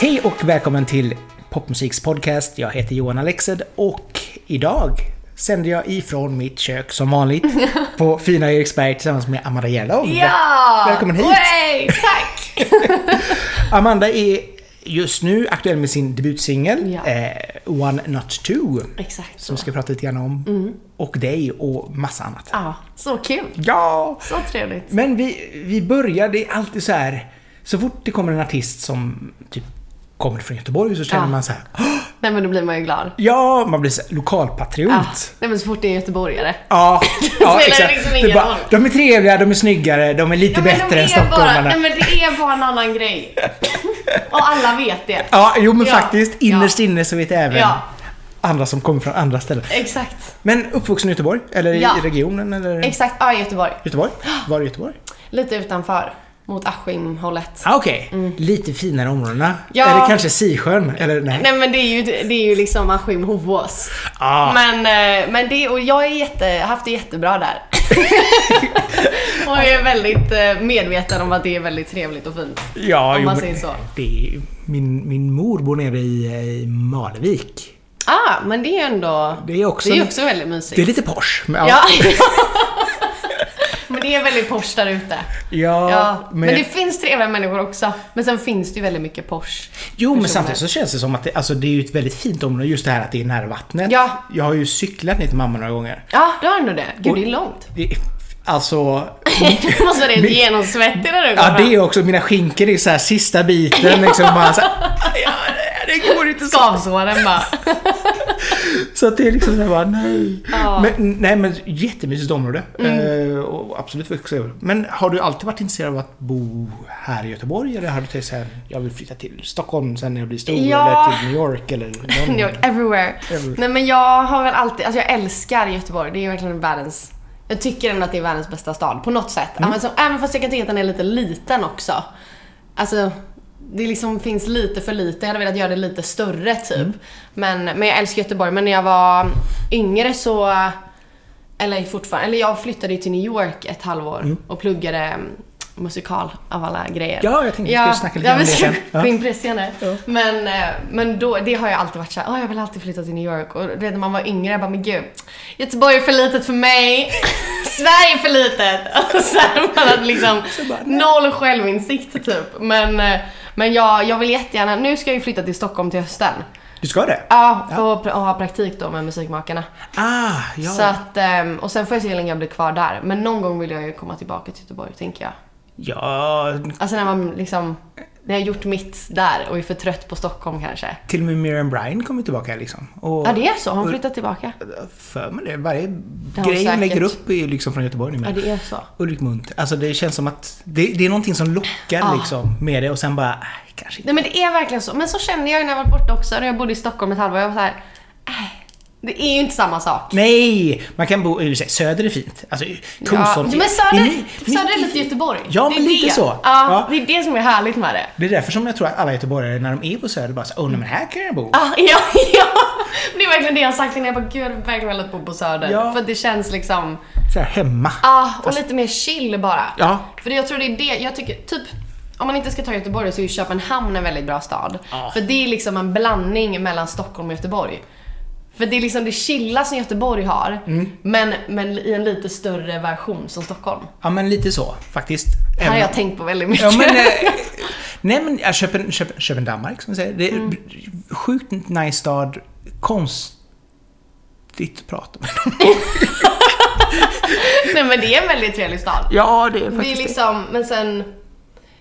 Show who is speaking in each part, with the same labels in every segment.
Speaker 1: Hej och välkommen till Popmusiks podcast. Jag heter Johan Alexed och idag sänder jag ifrån mitt kök som vanligt på fina Eriksberg tillsammans med Amanda Gällholm.
Speaker 2: Ja!
Speaker 1: Välkommen hit!
Speaker 2: Way, tack!
Speaker 1: Amanda är just nu aktuell med sin debutsingel
Speaker 2: Ja.
Speaker 1: eh, One Not Two
Speaker 2: Exakt så.
Speaker 1: som vi ska prata lite grann om.
Speaker 2: Mm.
Speaker 1: Och dig och massa annat.
Speaker 2: Ja, så kul.
Speaker 1: Ja!
Speaker 2: Så trevligt.
Speaker 1: Men vi, vi börjar, det är alltid så här. Så fort det kommer en artist som typ kommer från Göteborg så känner
Speaker 2: Ja.
Speaker 1: man så här. "Åh,
Speaker 2: Nej men då blir man ju glad.
Speaker 1: Ja, man blir så här, lokalpatriot.
Speaker 2: Ja. Nej men så fort det är göteborgare.
Speaker 1: Ja, ja
Speaker 2: spelar
Speaker 1: exakt.
Speaker 2: liksom
Speaker 1: Det är
Speaker 2: ingen
Speaker 1: bara,
Speaker 2: roll.
Speaker 1: de är trevliga, de är snyggare, de är lite
Speaker 2: Ja, men
Speaker 1: bättre
Speaker 2: de
Speaker 1: än
Speaker 2: är bara,
Speaker 1: stockholmarna.
Speaker 2: nej men det är bara en annan grej. Och alla vet det.
Speaker 1: Ja, jo men
Speaker 2: Ja.
Speaker 1: faktiskt. Innerst
Speaker 2: Ja.
Speaker 1: inne så vet även
Speaker 2: Ja.
Speaker 1: andra som kommer från andra ställen.
Speaker 2: Exakt.
Speaker 1: Men uppvuxen i Göteborg? Eller i
Speaker 2: Ja.
Speaker 1: regionen? Eller?
Speaker 2: Exakt. Ja, i Göteborg.
Speaker 1: Göteborg? Var i Göteborg?
Speaker 2: Lite utanför. Mot Askim-hållet.
Speaker 1: Ah, Okej, lite finare områdena.
Speaker 2: Mm. Ja.
Speaker 1: Eller kanske Sisjön? Eller nej?
Speaker 2: Nej men det är ju, det är ju liksom Askim, Hovås.
Speaker 1: Ah.
Speaker 2: Men, eh, men det, och jag har jätte, haft det jättebra där. och jag är väldigt eh, medveten om att det är väldigt trevligt och fint.
Speaker 1: ja,
Speaker 2: om
Speaker 1: jo,
Speaker 2: man
Speaker 1: men
Speaker 2: säger så.
Speaker 1: Det är, min, min mor bor nere i, eh, i Malvik.
Speaker 2: Ah, men det är ju ändå...
Speaker 1: Det är också-
Speaker 2: det är ju också väldigt
Speaker 1: Det är
Speaker 2: mysigt.
Speaker 1: lite Porsche. men
Speaker 2: Ja. men det är väldigt Porsche där ute.
Speaker 1: Ja,
Speaker 2: Ja. Men,
Speaker 1: men-
Speaker 2: det finns trevliga människor också. Men sen finns det ju väldigt mycket Porsche.
Speaker 1: Jo men
Speaker 2: personer.
Speaker 1: samtidigt så känns det som att det, alltså, det är ju ett väldigt fint område, just det här att det är nära vattnet.
Speaker 2: Ja.
Speaker 1: Jag har ju cyklat ner till mamma några gånger.
Speaker 2: Ja, du har ändå det. Gud,
Speaker 1: Och-
Speaker 2: det är långt.
Speaker 1: Det, är- alltså...
Speaker 2: Måste vara
Speaker 1: Men-
Speaker 2: rent genomsvettig när du går
Speaker 1: Ja
Speaker 2: fram.
Speaker 1: det är också, mina skinkor är så här sista biten liksom bara så här, ja, det går inte så.
Speaker 2: Skavsåren bara.
Speaker 1: Så att det är liksom såhär bara nej.
Speaker 2: Ja. Mm.
Speaker 1: Men, nej men jättemysigt område. Eh, och absolut växa över. Men har du alltid varit intresserad av att bo här i Göteborg? Eller har du tänkt såhär, jag vill flytta till Stockholm sen när jag blir stor?
Speaker 2: Ja.
Speaker 1: Eller till New York eller
Speaker 2: New York, everywhere.
Speaker 1: Everywhere.
Speaker 2: Nej men jag har väl alltid, alltså jag älskar Göteborg. Det är verkligen världens, jag tycker ändå att det är världens bästa stad på något sätt. Ja, men så, även fast jag kan tycka att den är lite liten också. Alltså, det liksom finns lite för lite. Jag hade velat göra det lite större typ. Men, men jag älskar Göteborg. Men när jag var yngre så, eller fortfarande, eller jag flyttade ju till New York ett halvår och pluggade mm, musikal av alla grejer.
Speaker 1: Ja, jag tänkte Mm, vi skulle snacka lite
Speaker 2: ja,
Speaker 1: om
Speaker 2: vi
Speaker 1: det
Speaker 2: ska
Speaker 1: sen. Ja.
Speaker 2: gå in på det senare. Men, eh, men då, det har jag alltid varit såhär, "Åh, jag vill alltid flytta till New York. Och redan när man var yngre, jag bara, men gud. Göteborg är för litet för mig. Sverige är för litet. Och så här, man hade liksom noll självinsikt typ. Men, eh, men jag, jag vill jättegärna, nu ska jag ju flytta till Stockholm till hösten.
Speaker 1: Du ska det?
Speaker 2: Ja, och, och ha praktik då med Musikmakarna.
Speaker 1: Ah, ja.
Speaker 2: Så att, ehm, och sen får jag se hur länge jag blir kvar där. Men någon gång vill jag ju komma tillbaka till Göteborg, tänker jag.
Speaker 1: Ja,
Speaker 2: Alltså när man liksom, när jag har gjort mitt där och är för trött på Stockholm kanske.
Speaker 1: till och med Miriam Bryan kommer tillbaka liksom. Och
Speaker 2: Ja det är så, har hon flyttat tillbaka?
Speaker 1: för mig det. Varje
Speaker 2: har
Speaker 1: grej hon
Speaker 2: säkert.
Speaker 1: lägger upp är ju liksom från Göteborg nu.
Speaker 2: Ja
Speaker 1: med.
Speaker 2: det är så.
Speaker 1: Ulrik Munt. Alltså det känns som att det, det är någonting som lockar
Speaker 2: Ah.
Speaker 1: liksom med det och sen bara, äh, kanske inte.
Speaker 2: Nej men det är verkligen så. Men så kände jag ju när jag var borta också, när jag bodde i Stockholm ett halvår. Jag var såhär, nej. Det är ju inte samma sak.
Speaker 1: Nej! Man kan bo, i och för sig, söder är fint. Alltså Kungsholmen.
Speaker 2: Ja, men
Speaker 1: det är
Speaker 2: Söder,
Speaker 1: ny-
Speaker 2: söder är
Speaker 1: ny-
Speaker 2: lite Göteborg.
Speaker 1: Ja,
Speaker 2: Det är
Speaker 1: men lite
Speaker 2: det. Ah.
Speaker 1: så.
Speaker 2: Ja,
Speaker 1: Ja.
Speaker 2: det är det som är härligt med det.
Speaker 1: Det är därför som jag tror att alla göteborgare när de är på söder bara så, åh nej men här kan jag bo.
Speaker 2: Ja, ja, ja. Det är verkligen det jag har sagt innan. Jag bara, gud jag hade verkligen velat bo på Söder.
Speaker 1: Ja.
Speaker 2: För att det känns liksom,
Speaker 1: Så här hemma.
Speaker 2: Ja, och lite mer chill bara.
Speaker 1: Ja.
Speaker 2: För jag tror det är det, jag tycker typ om man inte ska ta Göteborg så är ju Köpenhamn en väldigt bra stad.
Speaker 1: Ja.
Speaker 2: För det är liksom en blandning mellan Stockholm och Göteborg. För det är liksom det chilla som Göteborg har,
Speaker 1: Mm.
Speaker 2: men, men i en lite större version som Stockholm.
Speaker 1: Ja men lite så faktiskt.
Speaker 2: Det här har
Speaker 1: Även-
Speaker 2: jag tänkt på väldigt mycket.
Speaker 1: Ja, men, eh, nej men ja, Köpen, Köpen, Köpen Danmark som vi säger. Det är sjukt nice stad. Konstigt att prata med.
Speaker 2: Nej men det är en väldigt trevlig stad.
Speaker 1: Ja, det är
Speaker 2: Det är liksom, men sen,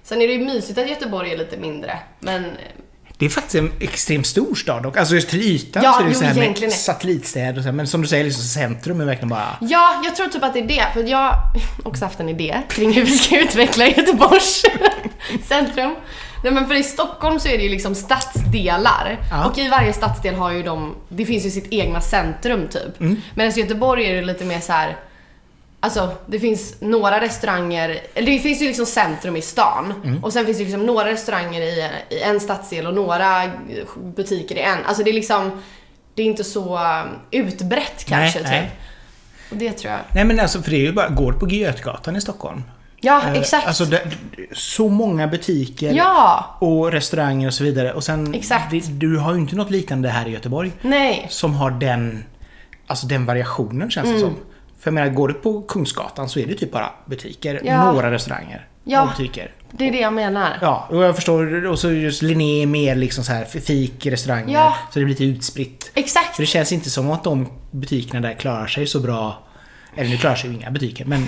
Speaker 2: sen är det ju mysigt att Göteborg är lite mindre. Men
Speaker 1: Det är faktiskt en extremt stor stad och alltså just till ytan
Speaker 2: Ja,
Speaker 1: så är det ju
Speaker 2: jo,
Speaker 1: så här
Speaker 2: egentligen
Speaker 1: med
Speaker 2: är-
Speaker 1: satellitstäder och så här, men som du säger liksom centrum är verkligen bara
Speaker 2: Ja, jag tror typ att det är det. För jag har också haft en idé kring hur vi ska utveckla Göteborgs centrum. Nej men för i Stockholm så är det ju liksom stadsdelar.
Speaker 1: Ja.
Speaker 2: Och i varje stadsdel har ju de, det finns ju sitt egna centrum typ. Medan i Göteborg är det lite mer så här. Alltså det finns några restauranger, eller det finns ju liksom centrum i stan.
Speaker 1: Mm.
Speaker 2: Och sen finns det liksom några restauranger i, i en stadsdel och några butiker i en. Alltså det är liksom, det är inte så eh, um, utbrett kanske
Speaker 1: Nej,
Speaker 2: typ.
Speaker 1: nej.
Speaker 2: Och det tror jag.
Speaker 1: Nej men alltså för det är ju bara, går på Götgatan i Stockholm.
Speaker 2: Ja,
Speaker 1: Eh,
Speaker 2: exakt.
Speaker 1: Alltså det, så många butiker
Speaker 2: ja,
Speaker 1: och restauranger och så vidare. Och sen,
Speaker 2: Exakt.
Speaker 1: det- du har ju inte något liknande här i Göteborg.
Speaker 2: nej.
Speaker 1: Som har den, alltså den variationen känns
Speaker 2: Mm.
Speaker 1: det som. För jag menar, går du på Kungsgatan så är det typ bara butiker,
Speaker 2: Ja.
Speaker 1: några restauranger,
Speaker 2: Ja.
Speaker 1: några butiker.
Speaker 2: Det är det jag menar.
Speaker 1: Ja, och jag förstår. Och så just Linné är mer liksom så här fik, restauranger.
Speaker 2: Ja.
Speaker 1: Så det blir lite utspritt.
Speaker 2: Exakt.
Speaker 1: För det känns inte som att de butikerna där klarar sig så bra. Eller nu klarar sig ju inga butiker men...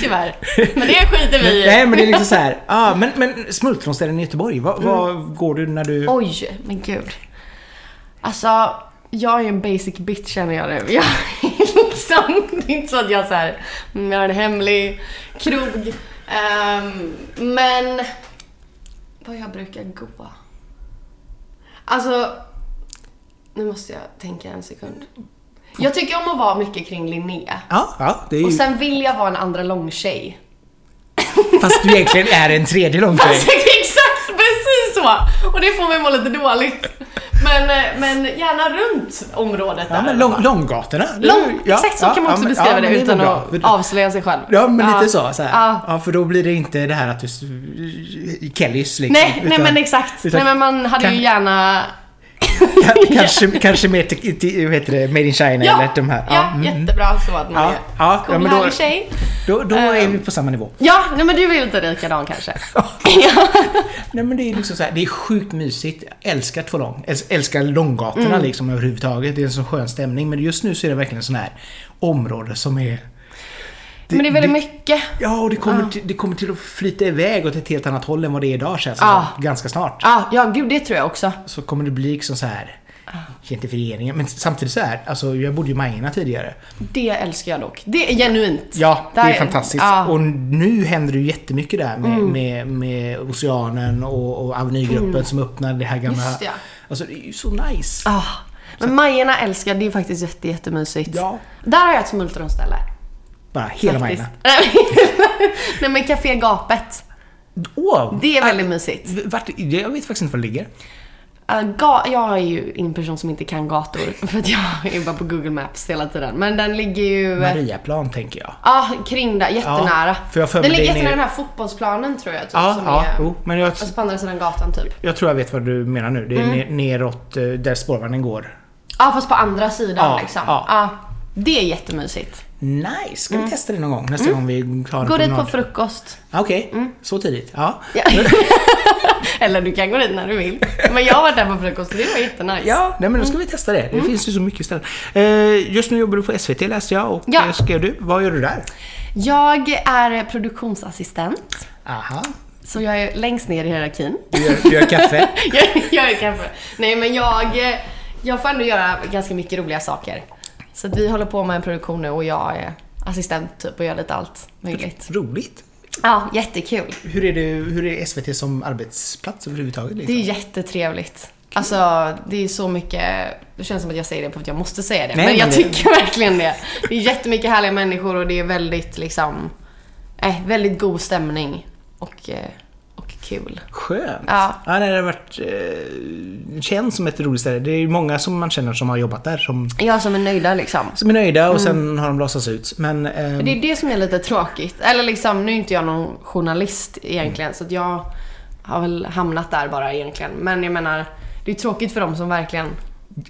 Speaker 2: Tyvärr. Men det skiter vi i.
Speaker 1: Nej men det är liksom så här. Ah, men, men smultronställen i Göteborg, vad,
Speaker 2: Mm.
Speaker 1: vad går du när du...
Speaker 2: Oj, men gud. Alltså, jag är ju en basic bitch känner jag nu. Jag är liksom, det är inte så att jag så här, "Mm, jag har en hemlig krog. Ehm, men, vad jag brukar gå? Alltså, nu måste jag tänka en sekund. Jag tycker om att vara mycket kring Linné.
Speaker 1: Ja, ja, det är ju...
Speaker 2: Och sen vill jag vara en andra långtjej.
Speaker 1: Fast du egentligen är en tredje långtradare.
Speaker 2: Alltså, exakt, precis så! Och det får mig att må lite dåligt. Men, eh, men gärna runt området
Speaker 1: Ja,
Speaker 2: där.
Speaker 1: men lång, långgatorna. Det är ju-
Speaker 2: Lång,
Speaker 1: ja,
Speaker 2: exakt så
Speaker 1: ja,
Speaker 2: kan man också
Speaker 1: ja, men-
Speaker 2: beskriva
Speaker 1: ja,
Speaker 2: det
Speaker 1: men är
Speaker 2: utan
Speaker 1: nog bra.
Speaker 2: att avslöja sig själv.
Speaker 1: Ja, men lite så. så här. Ja.
Speaker 2: Ja.
Speaker 1: för då blir det inte det här att du... s- Kellys liksom.
Speaker 2: Nej, nej
Speaker 1: utan-
Speaker 2: men exakt.
Speaker 1: utan-
Speaker 2: nej, men man hade
Speaker 1: kan-
Speaker 2: ju gärna...
Speaker 1: Ka- kanske, kanske mer till, till, vad heter det, Made in China
Speaker 2: Ja,
Speaker 1: eller de här.
Speaker 2: ja
Speaker 1: mm.
Speaker 2: jättebra så att man
Speaker 1: Ja,
Speaker 2: är
Speaker 1: ja,
Speaker 2: cool,
Speaker 1: ja, men då-
Speaker 2: härlig tjej.
Speaker 1: Då, då
Speaker 2: Ehm.
Speaker 1: är vi på samma nivå.
Speaker 2: Ja, nej, men du är lite likadan kanske.
Speaker 1: Nej men det är liksom så här, det är sjukt mysigt. Jag älskar Tvålång. Äls- Älskar långgatorna
Speaker 2: Mm.
Speaker 1: liksom överhuvudtaget. Det är en sån skön stämning. Men just nu så är det verkligen sån här område som är...
Speaker 2: men det är väldigt mycket.
Speaker 1: Ja, och det kommer, till, det kommer till att flyta iväg åt ett helt annat håll än vad det är idag känns det
Speaker 2: Ja.
Speaker 1: som. Ganska snart.
Speaker 2: Ja, ja, gud det tror jag också.
Speaker 1: Så kommer det bli liksom så här
Speaker 2: Ah.
Speaker 1: gentrifieringen. Men samtidigt så här, alltså jag bodde ju i Majorna tidigare.
Speaker 2: Det älskar jag dock. Det är genuint.
Speaker 1: Ja, det
Speaker 2: Där-
Speaker 1: är fantastiskt.
Speaker 2: ja. Mm.
Speaker 1: Och nu händer det ju jättemycket där med, med, med Oceanen och, och Avenygruppen som öppnar det här gamla...
Speaker 2: Just det, ja.
Speaker 1: Alltså det är ju så nice.
Speaker 2: Ah, men Majerna älskar, det är faktiskt jätte, jättemysigt.
Speaker 1: Ja.
Speaker 2: Där har jag ett smultronställe.
Speaker 1: Bara hela
Speaker 2: faktiskt.
Speaker 1: Majorna.
Speaker 2: Nej, men- Nej men Café Gapet.
Speaker 1: Åh!
Speaker 2: Det är väldigt mysigt.
Speaker 1: V- Vart, jag vet faktiskt inte var det ligger.
Speaker 2: Ah, ga- jag är ju en person som inte kan gator för att jag är bara på Google Maps hela tiden. Men den ligger ju... Ja,
Speaker 1: Mariaplan tänker jag.
Speaker 2: ah, kring där. Jättenära.
Speaker 1: Ja, för jag för mig
Speaker 2: den ligger
Speaker 1: det är
Speaker 2: jättenära
Speaker 1: nere-
Speaker 2: den här fotbollsplanen tror jag. Typ,
Speaker 1: Ja,
Speaker 2: som
Speaker 1: ja, oh.
Speaker 2: är,
Speaker 1: jo, men jag,
Speaker 2: Alltså på andra sidan gatan typ. Ja,
Speaker 1: jag tror jag vet vad du menar nu. Det är
Speaker 2: Mm.
Speaker 1: ne- neråt eh, där spårvagnen går.
Speaker 2: ah, fast på andra sidan
Speaker 1: Ja,
Speaker 2: liksom.
Speaker 1: ja.
Speaker 2: Ah, det är jättemysigt.
Speaker 1: Nice! Ska vi testa det någon gång? Nästa gång vi tar en
Speaker 2: Mm. Gå dit på Mm.
Speaker 1: promenad.
Speaker 2: frukost.
Speaker 1: Ah, Okej, så tidigt. Ja.
Speaker 2: Ja. Eller du kan gå dit när du vill. Men jag har varit där på frukost och det var jättenice.
Speaker 1: Ja, nej men då ska vi testa det. Det
Speaker 2: Mm.
Speaker 1: finns ju så mycket ställen. Eh, just nu jobbar du på SVT läste jag och
Speaker 2: Ja.
Speaker 1: eh, skrev du. Vad gör du där?
Speaker 2: Jag är produktionsassistent,
Speaker 1: Aha.
Speaker 2: så jag är längst ner i hierarkin.
Speaker 1: Du gör, du gör kaffe?
Speaker 2: jag, jag är kanske... Nej men jag, eh, jag får ändå göra ganska mycket roliga saker. Så att vi håller på med en produktion nu och jag är assistent typ och gör lite allt möjligt.
Speaker 1: Roligt.
Speaker 2: Ja, jättekul.
Speaker 1: Hur är, det, hur är SVT som arbetsplats överhuvudtaget?
Speaker 2: Det
Speaker 1: Liksom?
Speaker 2: är jättetrevligt. Alltså, det är så mycket... Det känns som att jag säger det för att jag måste säga det.
Speaker 1: Nej,
Speaker 2: men jag
Speaker 1: men det-
Speaker 2: tycker verkligen det. Det är jättemycket härliga människor och det är väldigt liksom... Eh, väldigt god stämning. Och, eh, och kul.
Speaker 1: Skönt.
Speaker 2: Ja.
Speaker 1: ja nej, det har varit... Eh, känns som ett roligt ställe. Det är ju många som man känner som har jobbat där som,
Speaker 2: Jag som är nöjda liksom.
Speaker 1: som är nöjda och sen har de låtsats ut. Men... ehm,
Speaker 2: Det är det som är lite tråkigt. Eller liksom, nu är inte jag någon journalist egentligen så att jag har väl hamnat där bara egentligen. Men jag menar, det är tråkigt för dem som verkligen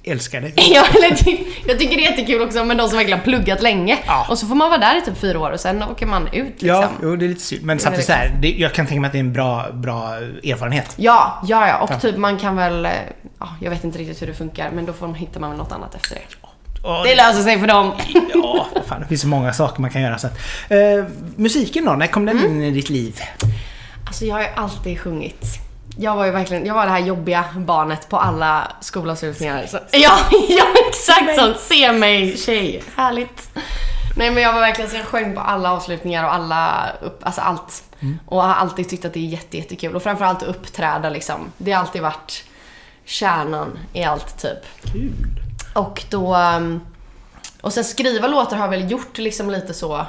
Speaker 1: Älskar det.
Speaker 2: Ja, eller typ, jag tycker det är jättekul också med de som verkligen har pluggat länge.
Speaker 1: Ja.
Speaker 2: Och så får man vara där i typ fyra år och sen åker man ut liksom.
Speaker 1: Ja,
Speaker 2: Ja,
Speaker 1: jo, det är lite synd. Men samtidigt så här, det, jag kan tänka mig att det är en bra, bra erfarenhet.
Speaker 2: ja, ja. Och typ man kan väl... eh, Ja, jag vet inte riktigt hur det funkar men då får man, hittar man väl något annat efter det.
Speaker 1: Och-
Speaker 2: Det löser sig för dem.
Speaker 1: Ja, vad fan, det finns så många saker man kan göra. Så att, eh, musiken då, när kom den
Speaker 2: Mm.
Speaker 1: in i ditt liv?
Speaker 2: Alltså jag har ju alltid sjungit. Jag var ju verkligen, jag var det här jobbiga barnet på alla skolavslutningar. Så, ja, ja, exakt sånt. Se mig tjej. Härligt. Nej men jag var verkligen så jag sjöng på alla avslutningar och alla, upp, alltså allt. Och har alltid tyckt att det är jätte, jättekul. Och framförallt att uppträda liksom. Det har alltid varit kärnan i allt typ.
Speaker 1: Kul.
Speaker 2: Och då... um, Och sen skriva låtar har jag väl gjort liksom lite så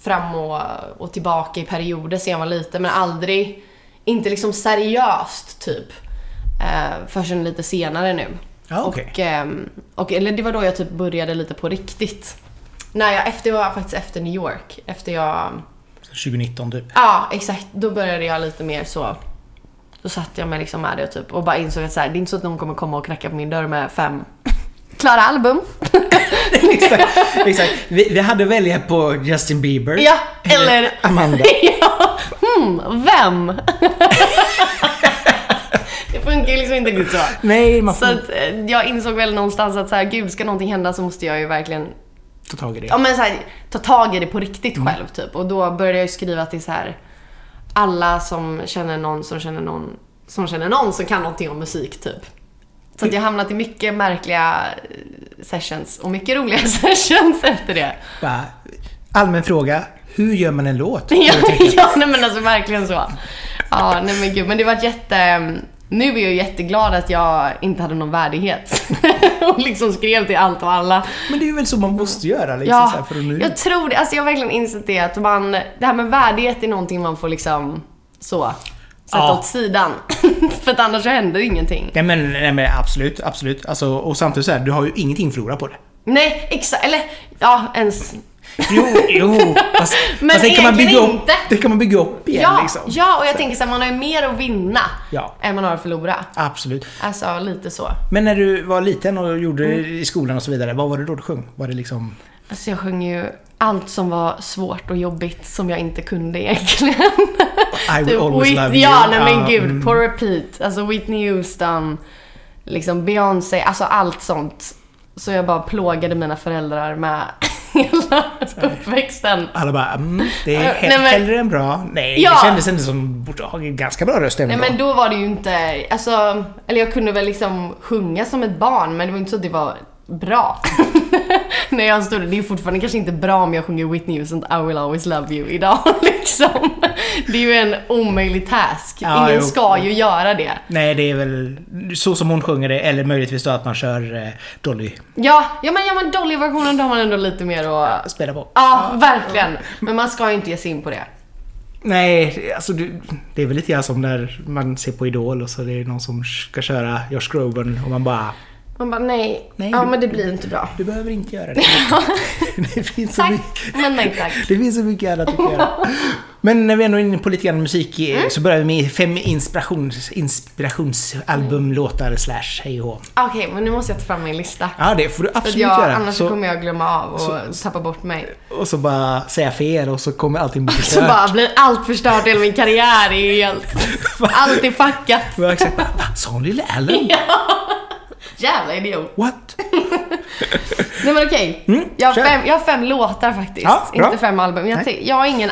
Speaker 2: fram och, och tillbaka i perioder sen jag var liten men aldrig, inte liksom seriöst typ. Eh, förrän lite senare nu.
Speaker 1: Ja, okej.
Speaker 2: Och, ehm, och, eller det var då jag typ började lite på riktigt. När jag, efter, det var faktiskt efter New York. Efter jag
Speaker 1: 2019 typ.
Speaker 2: Ja, exakt. Då började jag lite mer så. Då satt jag mig liksom med det och typ och bara insåg att så här, det är inte så att någon kommer komma och knacka på min dörr med fem klara album.
Speaker 1: exakt, exakt. Vi, vi hade att välja på Justin Bieber.
Speaker 2: Ja, eller...
Speaker 1: Amanda.
Speaker 2: ja, hmm, vem? det funkar ju liksom inte riktigt
Speaker 1: Mm.
Speaker 2: så.
Speaker 1: Nej, man
Speaker 2: Så
Speaker 1: får
Speaker 2: att eh, jag insåg väl någonstans att så här, gud, ska någonting hända så måste jag ju verkligen
Speaker 1: ta tag i det.
Speaker 2: ja, men så här, ta tag i det på riktigt själv typ. Och då började jag ju skriva till så här alla som känner någon som känner någon som känner någon som kan någonting om musik typ. Så att jag har hamnat i mycket märkliga eh, sessions och mycket roliga sessions efter det.
Speaker 1: Bara, allmän fråga. Hur gör man en låt?
Speaker 2: Ja, ja nej men alltså verkligen så. Ja, nej men gud. Men det var jätte... Nu är jag jätteglad att jag inte hade någon värdighet. och liksom skrev till allt och alla.
Speaker 1: Men det är väl så man måste göra liksom, så här, för att nu...
Speaker 2: jag tror det. Alltså jag har verkligen insett det att man, det här med värdighet är någonting man får liksom så, sätta
Speaker 1: Ja.
Speaker 2: åt sidan. För att annars så händer ingenting.
Speaker 1: Nej men, nej men absolut, absolut. Alltså, och samtidigt så här, du har ju ingenting att förlora på det.
Speaker 2: Nej, exakt. Eller ja, ens...
Speaker 1: Jo, jo. Fast,
Speaker 2: Men
Speaker 1: fast det kan man bygga
Speaker 2: egentligen
Speaker 1: upp,
Speaker 2: inte.
Speaker 1: Det kan man bygga upp igen
Speaker 2: Ja,
Speaker 1: liksom.
Speaker 2: ja, och jag tänker så här, man har ju mer att vinna
Speaker 1: Ja.
Speaker 2: än man har att förlora.
Speaker 1: Absolut.
Speaker 2: Alltså lite så.
Speaker 1: Men när du var liten och gjorde
Speaker 2: Mm.
Speaker 1: det i skolan och så vidare, vad var det då du sjöng? Var det liksom...
Speaker 2: Alltså jag sjöng ju allt som var svårt och jobbigt som jag inte kunde egentligen.
Speaker 1: I will
Speaker 2: Typ
Speaker 1: always
Speaker 2: Whit-
Speaker 1: love you.
Speaker 2: Ja, nej men
Speaker 1: Ja,
Speaker 2: gud.
Speaker 1: mm.
Speaker 2: På repeat. Alltså Whitney Houston, liksom Beyoncé, alltså allt sånt. Så jag bara plågade mina föräldrar med hela uppväxten.
Speaker 1: Alla bara, mm, det är
Speaker 2: Ja,
Speaker 1: he-
Speaker 2: nej, men-
Speaker 1: hellre än bra. Nej,
Speaker 2: Ja.
Speaker 1: det kändes ändå som, borde ha en ganska bra röst även
Speaker 2: Nej
Speaker 1: då.
Speaker 2: men då var det ju inte, alltså, eller jag kunde väl liksom sjunga som ett barn men det var inte så att det var bra. När jag stod det är fortfarande kanske inte bra om jag sjunger Whitney Houston I will always love you idag liksom. Det är ju en omöjlig task.
Speaker 1: Ja,
Speaker 2: Ingen
Speaker 1: jo.
Speaker 2: ska ju göra det.
Speaker 1: Nej, det är väl så som hon sjunger det, eller möjligtvis då att man kör eh, Dolly
Speaker 2: Ja, ja men, ja, men Dolly-versionen då har man ändå lite mer att...
Speaker 1: spela på.
Speaker 2: Ja, verkligen. Men man ska ju inte ge sig in på det.
Speaker 1: Nej, alltså du, det är väl lite grann som när man ser på Idol och så är det någon som ska köra Josh Groban och man bara
Speaker 2: Man bara nej,
Speaker 1: Nej,
Speaker 2: ja
Speaker 1: du-
Speaker 2: men det blir inte bra.
Speaker 1: Du behöver inte göra det. det, finns så
Speaker 2: Tack,
Speaker 1: mycket,
Speaker 2: men nej tack.
Speaker 1: det finns så mycket annat att göra. Men när vi ändå är inne på lite grann musik eh,
Speaker 2: Mm.
Speaker 1: så börjar vi med fem inspirations,
Speaker 2: Mm.
Speaker 1: inspirationsalbumlåtar slash hej och hå.
Speaker 2: Okej, men nu måste jag ta fram min lista.
Speaker 1: Ja, det får du absolut
Speaker 2: För att jag,
Speaker 1: göra.
Speaker 2: annars
Speaker 1: Så,
Speaker 2: så kommer jag glömma av och tappa bort mig.
Speaker 1: Och så bara säga fel och så kommer allting bli
Speaker 2: Så
Speaker 1: förstört.
Speaker 2: bara blir allt förstört, hela min karriär är ju helt... allt är fuckat.
Speaker 1: Och jag exakt bara, "Va? Sa hon lille Allen?
Speaker 2: Jävla idiot.
Speaker 1: What?
Speaker 2: Nej men okej,
Speaker 1: Mm,
Speaker 2: jag, har
Speaker 1: kör.
Speaker 2: fem- jag har fem låtar faktiskt.
Speaker 1: Ja, bra.
Speaker 2: inte fem album. Jag,
Speaker 1: Nej.
Speaker 2: tänk- jag är ingen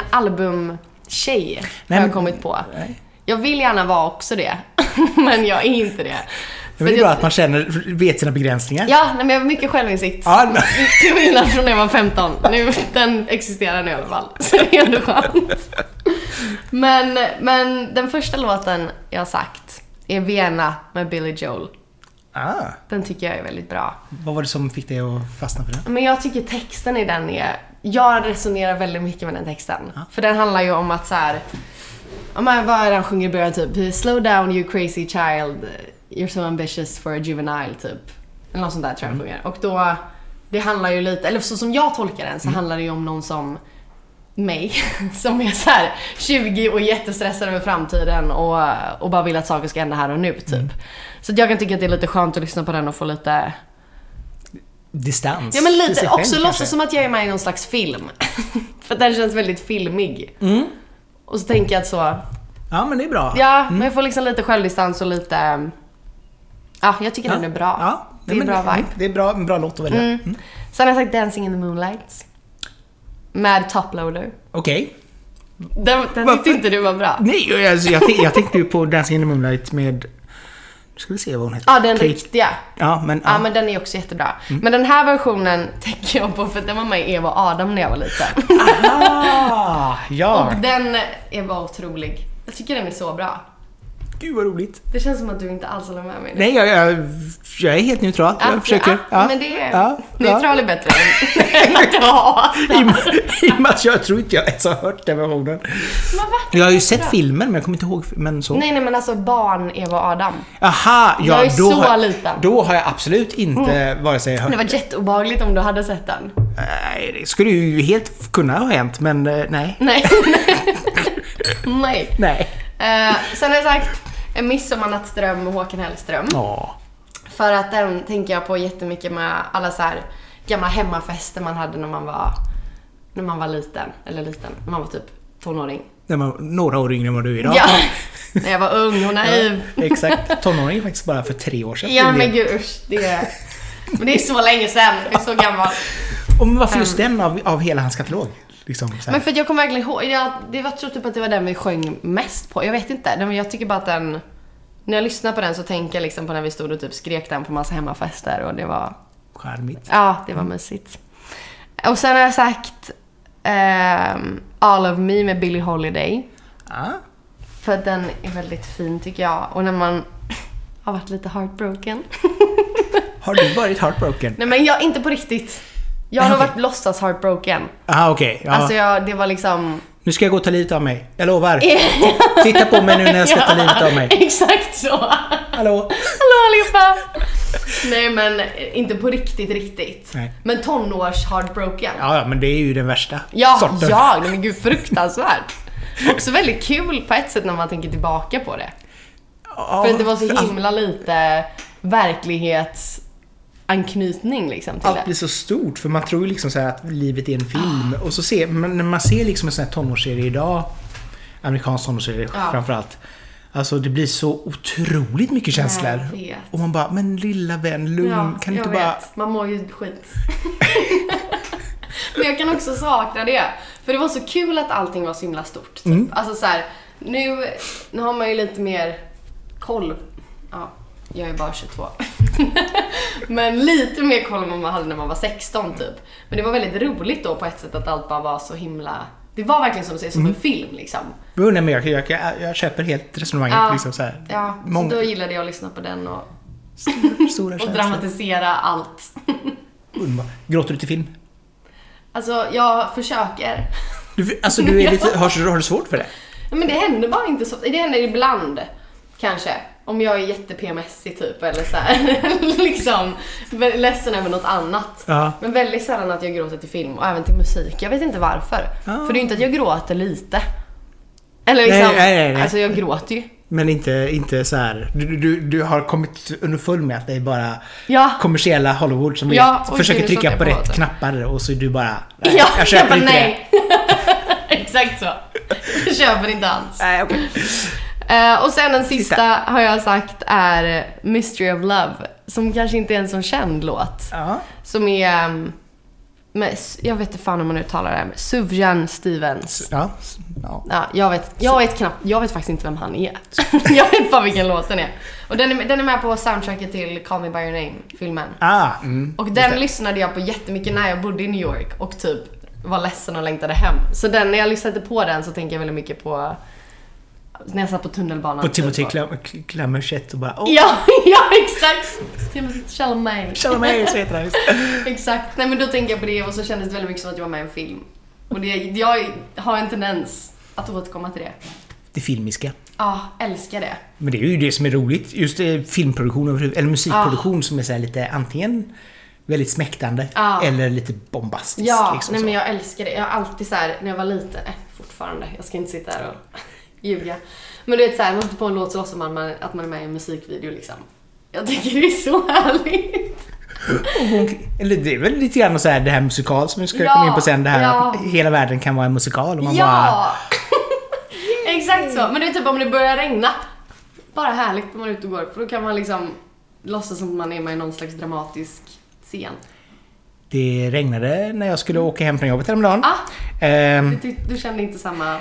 Speaker 2: albumtjej, har
Speaker 1: Nej,
Speaker 2: jag
Speaker 1: men-
Speaker 2: kommit på.
Speaker 1: Nej.
Speaker 2: Jag vill gärna vara också det, men jag är inte det.
Speaker 1: Men det är
Speaker 2: Så
Speaker 1: bra
Speaker 2: jag-
Speaker 1: att man känner, vet sina begränsningar.
Speaker 2: Ja, nej, men jag har mycket självinsikt.
Speaker 1: Ja, nej.
Speaker 2: Till skillnad från när jag var 15. Nu, den existerar nu i alla fall. Så det är ändå skönt. Men, men den första låten jag har sagt är Vienna med Billy Joel.
Speaker 1: Ah,
Speaker 2: Den tycker jag är väldigt bra.
Speaker 1: vad var det som fick dig att fastna för den?
Speaker 2: Men jag tycker texten i den är... Jag resonerar väldigt mycket med den texten. För den handlar ju om att så här... Om man, vad är det han sjunger i början? Typ “Slow down you crazy child, you're so ambitious for a juvenile” typ. Eller något sånt där tror jag han sjunger. Och då... Det handlar ju lite... Eller så som jag tolkar den så handlar det ju om någon som mig som är så här 20 och jättestressad över framtiden och, och bara vill att saker ska hända här och nu typ. Så att jag kan tycka att det är lite skönt att lyssna på den och få lite
Speaker 1: Distans?
Speaker 2: Ja men
Speaker 1: till sig
Speaker 2: lite,
Speaker 1: själv,
Speaker 2: också
Speaker 1: kanske.
Speaker 2: låtsas som att jag är med i någon slags film. För att den känns väldigt filmig.
Speaker 1: Mm.
Speaker 2: Och så tänker jag att så,
Speaker 1: Ja men det är bra.
Speaker 2: ja men jag får liksom lite självdistans och lite, ehm, ja jag tycker den är bra.
Speaker 1: Ja,
Speaker 2: det är
Speaker 1: men
Speaker 2: bra vibe.
Speaker 1: Det är bra, en bra låt att välja. Mm.
Speaker 2: Sen har jag sagt Dancing in the moonlight. Med toploader.
Speaker 1: Okej.
Speaker 2: Den, den
Speaker 1: Varför?
Speaker 2: tyckte inte du var bra.
Speaker 1: Nej, alltså, jag, tänk, jag tänkte ju på Dancing in the Moonlight med... Nu ska vi se vad hon heter.
Speaker 2: Ja den
Speaker 1: Kate-
Speaker 2: riktiga.
Speaker 1: Ja, men...
Speaker 2: Ja
Speaker 1: Ja. Mm.
Speaker 2: men den är också jättebra. Men den här versionen tänker jag på för att den var med i Eva och Adam när jag var liten.
Speaker 1: Ah, ja.
Speaker 2: Och den är bara otrolig. Jag tycker den är så bra.
Speaker 1: Gud vad roligt.
Speaker 2: Det känns som att du inte alls håller med mig. nu.
Speaker 1: Nej, jag, jag, jag är helt neutral.
Speaker 2: Ja,
Speaker 1: jag försöker.
Speaker 2: Ja, men det är...
Speaker 1: Ja, ja.
Speaker 2: Neutral är bättre än än att ha.
Speaker 1: I och med- I och med att jag tror inte jag ens har hört den versionen.
Speaker 2: Men va?
Speaker 1: Jag har ju sett filmen men jag kommer inte ihåg men så.
Speaker 2: Nej, nej men alltså barn, Eva och Adam.
Speaker 1: Aha, ja,
Speaker 2: Jag är
Speaker 1: då,
Speaker 2: så
Speaker 1: har,
Speaker 2: liten. Mm.
Speaker 1: då har jag absolut inte vare sig hört...
Speaker 2: Det var jätteobehagligt om du hade sett den.
Speaker 1: Nej, det skulle ju helt kunna ha hänt men eh, nej.
Speaker 2: Nej. nej.
Speaker 1: Nej.
Speaker 2: Eh, sen har jag sagt En midsommarnattsdröm med Håkan Hellström.
Speaker 1: Ja.
Speaker 2: För att den tänker jag på jättemycket med alla så här gamla hemmafester man hade när man var, när man var liten. Eller liten, när man var typ tonåring.
Speaker 1: När man, några år yngre än vad du är idag.
Speaker 2: Ja. när jag var ung och naiv.
Speaker 1: Exakt. Tonåring faktiskt bara för tre år sedan.
Speaker 2: Ja men gud usch, det är... Men det är så länge sedan, jag är så gammal.
Speaker 1: Och men varför just den av, av hela hans katalog? Liksom, så här.
Speaker 2: Men för att jag kommer verkligen ihåg, jag, det var, jag tror typ att det var den vi sjöng mest på. Jag vet inte, den, jag tycker bara att den... När jag lyssnar på den så tänker jag liksom på när vi stod och typ skrek den på massa hemmafester och det var...
Speaker 1: Charmigt.
Speaker 2: Ja, det var mysigt. Och sen har jag sagt ehm, All of me med Billie Holiday.
Speaker 1: Ah.
Speaker 2: För att den är väldigt fin tycker jag. Och när man har varit lite heartbroken.
Speaker 1: Har du varit heartbroken?
Speaker 2: Nej men jag, inte på riktigt. Jag har nog varit låtsas heartbroken.
Speaker 1: Aha, okej. Ja.
Speaker 2: Alltså jag, det var liksom...
Speaker 1: Nu ska jag gå och ta livet av mig. Jag lovar. Titta på mig nu när jag ska ta livet av mig.
Speaker 2: Exakt så.
Speaker 1: Hallå?
Speaker 2: Hallå allihopa! Nej men inte på riktigt riktigt.
Speaker 1: Nej.
Speaker 2: Men tonårs heartbroken.
Speaker 1: Ja, ja, men det är ju den värsta
Speaker 2: Ja,
Speaker 1: sorten.
Speaker 2: ja, nej men gud fruktansvärt. Också väldigt kul på ett sätt när man tänker tillbaka på det.
Speaker 1: Ja,
Speaker 2: För att det var så
Speaker 1: allt-
Speaker 2: himla lite verklighetsanknytning liksom till
Speaker 1: Allt
Speaker 2: det. Ah.
Speaker 1: blir så stort för man tror ju liksom så här att livet är en film. Och så ser, men när man ser liksom en sån här tonårsserie idag, amerikansk tonårsserie
Speaker 2: Ja.
Speaker 1: framförallt. Alltså det blir så otroligt mycket känslor.
Speaker 2: Jag vet.
Speaker 1: Och man bara, men lilla vän, lugn. Mm, kan du
Speaker 2: jag
Speaker 1: inte bara...
Speaker 2: vet. Man mår ju skit. Men jag kan också sakna det. För det var så kul att allting var så himla stort. Typ.
Speaker 1: Mm.
Speaker 2: Alltså så här, nu, nu har man ju lite mer koll. Ja, jag är bara 22. Men lite mer koll än vad man hade när man var 16 typ. Men det var väldigt roligt då på ett sätt att allt bara var så himla... Det var verkligen som du säger, som
Speaker 1: Mm.
Speaker 2: en film liksom.
Speaker 1: Jo, nej, men jag, jag, jag, jag köper helt resonemanget.
Speaker 2: Ja.
Speaker 1: liksom så här.
Speaker 2: Ja,
Speaker 1: Många
Speaker 2: så då gillade jag att lyssna på den och,
Speaker 1: stora
Speaker 2: och
Speaker 1: känslor.
Speaker 2: dramatisera allt.
Speaker 1: Underbar. Gråter du till film?
Speaker 2: Alltså, jag försöker.
Speaker 1: Du, alltså du är lite, har, har du svårt för det?
Speaker 2: Ja, Men det händer bara inte så Det händer ibland, kanske. Om jag är jätte-PMSig typ, eller så här, liksom vä- ledsen över något annat.
Speaker 1: Ja.
Speaker 2: Men väldigt sällan att jag gråter till film och även till musik. Jag vet inte varför.
Speaker 1: Ah.
Speaker 2: För det är ju inte att jag gråter lite. Eller
Speaker 1: Nej,
Speaker 2: liksom,
Speaker 1: nej, nej, nej.
Speaker 2: alltså jag gråter ju.
Speaker 1: Men inte, inte så här. Du, du, du har kommit underfull med att det är bara
Speaker 2: Ja.
Speaker 1: kommersiella Hollywood som
Speaker 2: Ja,
Speaker 1: vet-
Speaker 2: oj,
Speaker 1: försöker
Speaker 2: gud, nu
Speaker 1: trycka
Speaker 2: satte
Speaker 1: på
Speaker 2: jag på
Speaker 1: rätt
Speaker 2: det.
Speaker 1: knappar och så är du bara... Nej,
Speaker 2: Ja,
Speaker 1: jag köper inte det.
Speaker 2: nej. Exakt så. Jag köper inte alls.
Speaker 1: Nej, okej.
Speaker 2: Eh, och sen den sista, har jag sagt är Mystery of Love. Som kanske inte är en sån känd låt.
Speaker 1: Ja.
Speaker 2: Som är... ehm, Med, jag vet inte fan hur man uttalar det. här, men Suvjan Stevens.
Speaker 1: Ja. ja.
Speaker 2: Ja, jag, vet, jag, vet knappt, jag vet faktiskt inte vem han är. jag vet bara vilken låt den är. Och den är, den är med på soundtracket till Call Me By Your Name-filmen.
Speaker 1: Ah, mm.
Speaker 2: Och
Speaker 1: Just
Speaker 2: den
Speaker 1: det.
Speaker 2: lyssnade jag på jättemycket när jag bodde i New York och typ var ledsen och längtade hem. Så den, när jag lyssnade på den så tänker jag väldigt mycket på när jag satt på tunnelbanan.
Speaker 1: På
Speaker 2: typ,
Speaker 1: Timothy
Speaker 2: och-
Speaker 1: Clam- Clammerset och bara... Åh,
Speaker 2: Ja, ja exakt! Timothy Chalamet.
Speaker 1: Chalamet så heter han. just.
Speaker 2: Exakt. Nej men då tänker jag på det och så kändes det väldigt mycket som att jag var med i en film. Och det, jag har en tendens att återkomma till det.
Speaker 1: Det filmiska.
Speaker 2: Ja, älskar det.
Speaker 1: Men det är ju det som är roligt. Just eh, filmproduktion överhuvud- eller musikproduktion som är så här lite antingen väldigt smäktande
Speaker 2: Ah.
Speaker 1: eller lite bombastiskt.
Speaker 2: Ja,
Speaker 1: liksom
Speaker 2: nej
Speaker 1: så.
Speaker 2: men jag älskar det. Jag har alltid så här när jag var liten, nej fortfarande, jag ska inte sitta här och ljuga. Men du vet såhär, man sätter på en låt så låtsas man man- att man är med i en musikvideo liksom. Jag tycker det är så härligt.
Speaker 1: Eller det är väl lite grann så här det här musikal som vi ska
Speaker 2: Ja,
Speaker 1: komma in på sen. Det här
Speaker 2: ja.
Speaker 1: att hela världen kan vara en musikal. Och man bara,
Speaker 2: Ja! Exakt så. Men det är typ om det börjar regna. Bara härligt när man är ute och går, för då kan man liksom låtsas som att man är med i någon slags dramatisk scen.
Speaker 1: det regnade när jag skulle åka hem från jobbet häromdagen.
Speaker 2: Ah,
Speaker 1: Ehm,
Speaker 2: du, tyck- du kände inte samma...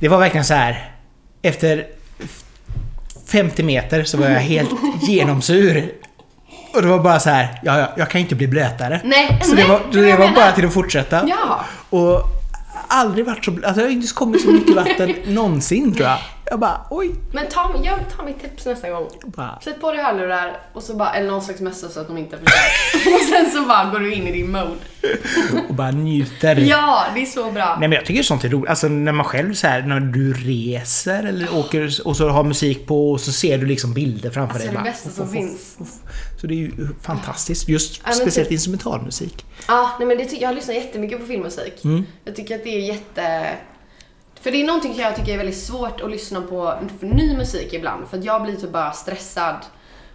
Speaker 1: det var verkligen så här. Efter f- 50 meter så var jag helt genomsur. Och det var bara så här, ja, ja, jag kan ju inte bli blötare.
Speaker 2: Nej,
Speaker 1: så
Speaker 2: nej,
Speaker 1: det var,
Speaker 2: det var
Speaker 1: det
Speaker 2: jag
Speaker 1: var
Speaker 2: menar.
Speaker 1: bara till att fortsätta.
Speaker 2: Ja!
Speaker 1: Och aldrig varit så bl- alltså jag har inte kommit så mycket vatten någonsin tror jag. Jag bara, oj.
Speaker 2: Men ta, jag tar mitt tips nästa gång.
Speaker 1: Bara,
Speaker 2: Sätt på dig hörlurar och så bara, eller någon slags mössa så att de inte förstör. och sen så bara går du in i din mode.
Speaker 1: och bara njuter.
Speaker 2: Ja, det är så bra.
Speaker 1: Mm. Nej men jag tycker sånt är roligt. Alltså när man själv så här, när du reser eller åker och så har musik på och så ser du liksom bilder framför dig.
Speaker 2: Alltså, det
Speaker 1: bara,
Speaker 2: bästa som
Speaker 1: uff, uff,
Speaker 2: finns.
Speaker 1: uff. Så det är ju fantastiskt. Just
Speaker 2: men
Speaker 1: speciellt
Speaker 2: typ-
Speaker 1: instrumentalmusik.
Speaker 2: Ja, nej men det tycker, jag lyssnar jättemycket på filmmusik. Jag tycker att det är jätte... För det är någonting som jag tycker är väldigt svårt att lyssna på för ny musik ibland. För att jag blir typ bara stressad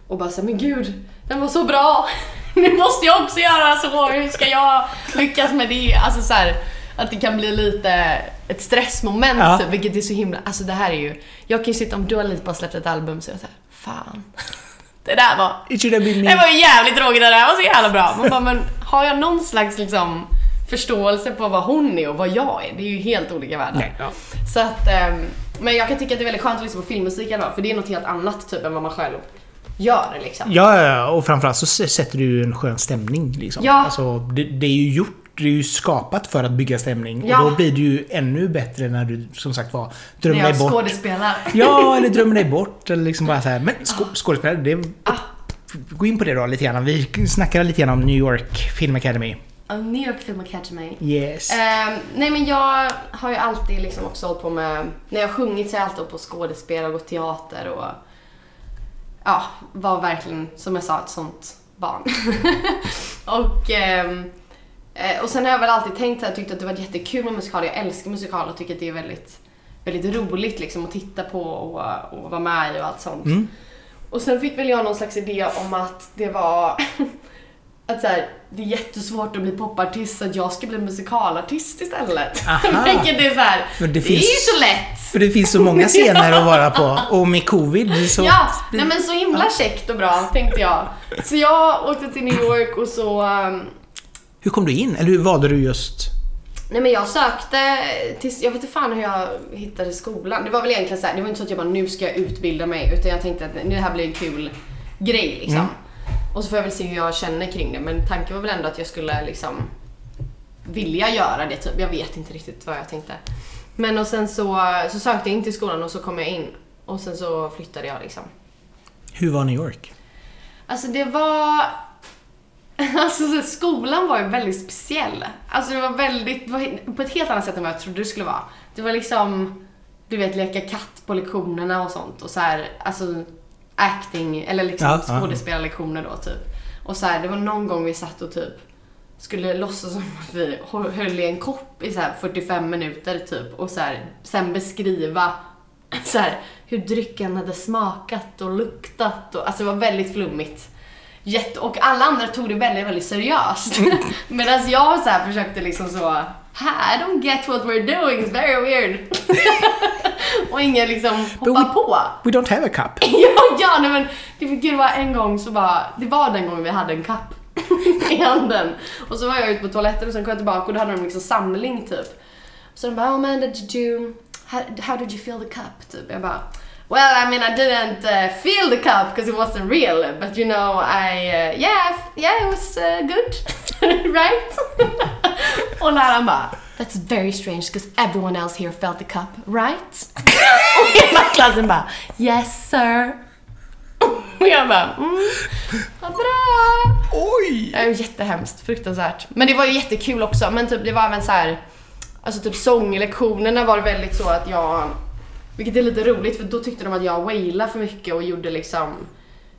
Speaker 2: och bara såhär, men gud, den var så bra! Nu måste jag också göra så, hur ska jag lyckas med det? Alltså så här, att det kan bli lite ett stressmoment
Speaker 1: Ja.
Speaker 2: typ, vilket är så himla... Alltså det här är ju... Jag kan ju sitta om Dua Lipa har släppt ett album så jag säger fan. Det där var
Speaker 1: It should have been me.
Speaker 2: det var ju jävligt tråkigt det där var så jävla bra. Man bara, men har jag någon slags liksom förståelse på vad hon är och vad jag är? Det är ju helt olika världar.
Speaker 1: Nej, ja.
Speaker 2: Så att, ehm, men jag kan tycka att det är väldigt skönt att lyssna på filmmusik i alla fall, för det är något helt annat typ än vad man själv gör liksom.
Speaker 1: Ja, ja, ja, och framförallt så s- sätter du ju en skön stämning. Liksom.
Speaker 2: Ja.
Speaker 1: Alltså, det, det är ju gjort, det är ju skapat för att bygga stämning.
Speaker 2: Ja.
Speaker 1: Och då blir det ju ännu bättre när du som sagt var
Speaker 2: När
Speaker 1: drömmer
Speaker 2: jag
Speaker 1: dig bort.
Speaker 2: skådespelar.
Speaker 1: Ja, eller drömmer dig bort. Eller liksom bara så här. Men sko- skådespelare, det...
Speaker 2: Ah.
Speaker 1: Gå in på det då lite grann. Vi snackade lite grann om New York Film Academy.
Speaker 2: Ja, New York Film Academy.
Speaker 1: Yes.
Speaker 2: Ehm, nej men jag har ju alltid liksom också hållit på med, när jag har sjungit så har jag alltid hållit på och skådespel och gått teater och ja, var verkligen som jag sa ett sånt barn. och, ehm, eh, och sen har jag väl alltid tänkt att jag tyckte att det var jättekul med musikaler. Jag älskar musikaler och tycker att det är väldigt, väldigt roligt liksom att titta på och, och vara med i och allt sånt.
Speaker 1: Mm.
Speaker 2: Och sen fick väl jag någon slags idé om att det var att så här, det är jättesvårt att bli popartist så att jag ska bli musikalartist istället.
Speaker 1: Aha.
Speaker 2: Vilket är så här,
Speaker 1: Men det
Speaker 2: det,
Speaker 1: finns-
Speaker 2: är ju så lätt!
Speaker 1: För det finns så många scener att vara på. Och med covid så...
Speaker 2: Ja, nej men så himla käckt och bra tänkte jag. Så jag åkte till New York och så um,
Speaker 1: Hur kom du in? Eller hur valde du just...
Speaker 2: Nej men jag sökte tills, jag vet inte fan hur jag hittade skolan. Det var väl egentligen så här, det var inte så att jag bara nu ska jag utbilda mig utan jag tänkte att det här blir en kul grej liksom.
Speaker 1: Mm.
Speaker 2: Och så får jag väl se hur jag känner kring det men tanken var väl ändå att jag skulle liksom vilja göra det typ. Jag vet inte riktigt vad jag tänkte. Men och sen så, så sökte jag in till skolan och så kom jag in och sen så flyttade jag liksom.
Speaker 1: Hur var New York?
Speaker 2: Alltså det var... Alltså så skolan var ju väldigt speciell. Alltså det var väldigt, var på ett helt annat sätt än vad jag trodde det skulle vara. Det var liksom, du vet leka katt på lektionerna och sånt och så här, alltså acting eller liksom
Speaker 1: Ja, ja.
Speaker 2: skådespelarlektioner då typ. Och så här, det var någon gång vi satt och typ skulle låtsas som att vi hö- höll i en kopp i så här 45 minuter typ och så här, sen beskriva så här, hur drycken hade smakat och luktat och alltså det var väldigt flummigt. Jätte, och alla andra tog det väldigt, väldigt seriöst. Medan jag så här försökte liksom så, "Ha, I don't get what we're doing, it's very weird. och ingen liksom
Speaker 1: But
Speaker 2: hoppade på.
Speaker 1: We don't have a cup.
Speaker 2: ja, ja, nej men typ, det fick ju vara en gång så bara, det var den gången vi hade en kapp i handen. Och så var jag ute på toaletten och sen kom jag tillbaka och då hade de liksom samling typ. Så de bara, oh man did you, how, how did you feel the cup? Typ. Jag bara, well I mean I didn't uh, feel the cup because it wasn't real but you know I, uh, yeah, I f- yeah it was uh, good, right? och läraren bara, That's very strange because everyone else here felt the cup, right? och hela klassen bara Yes sir! Och jag bara mm, vad bra!
Speaker 1: Oj!
Speaker 2: Ja, det var jättehemskt, fruktansvärt. Men det var ju jättekul också, men typ det var även så här, alltså typ sånglektionerna var det väldigt så att jag, vilket är lite roligt för då tyckte de att jag wailade för mycket och gjorde liksom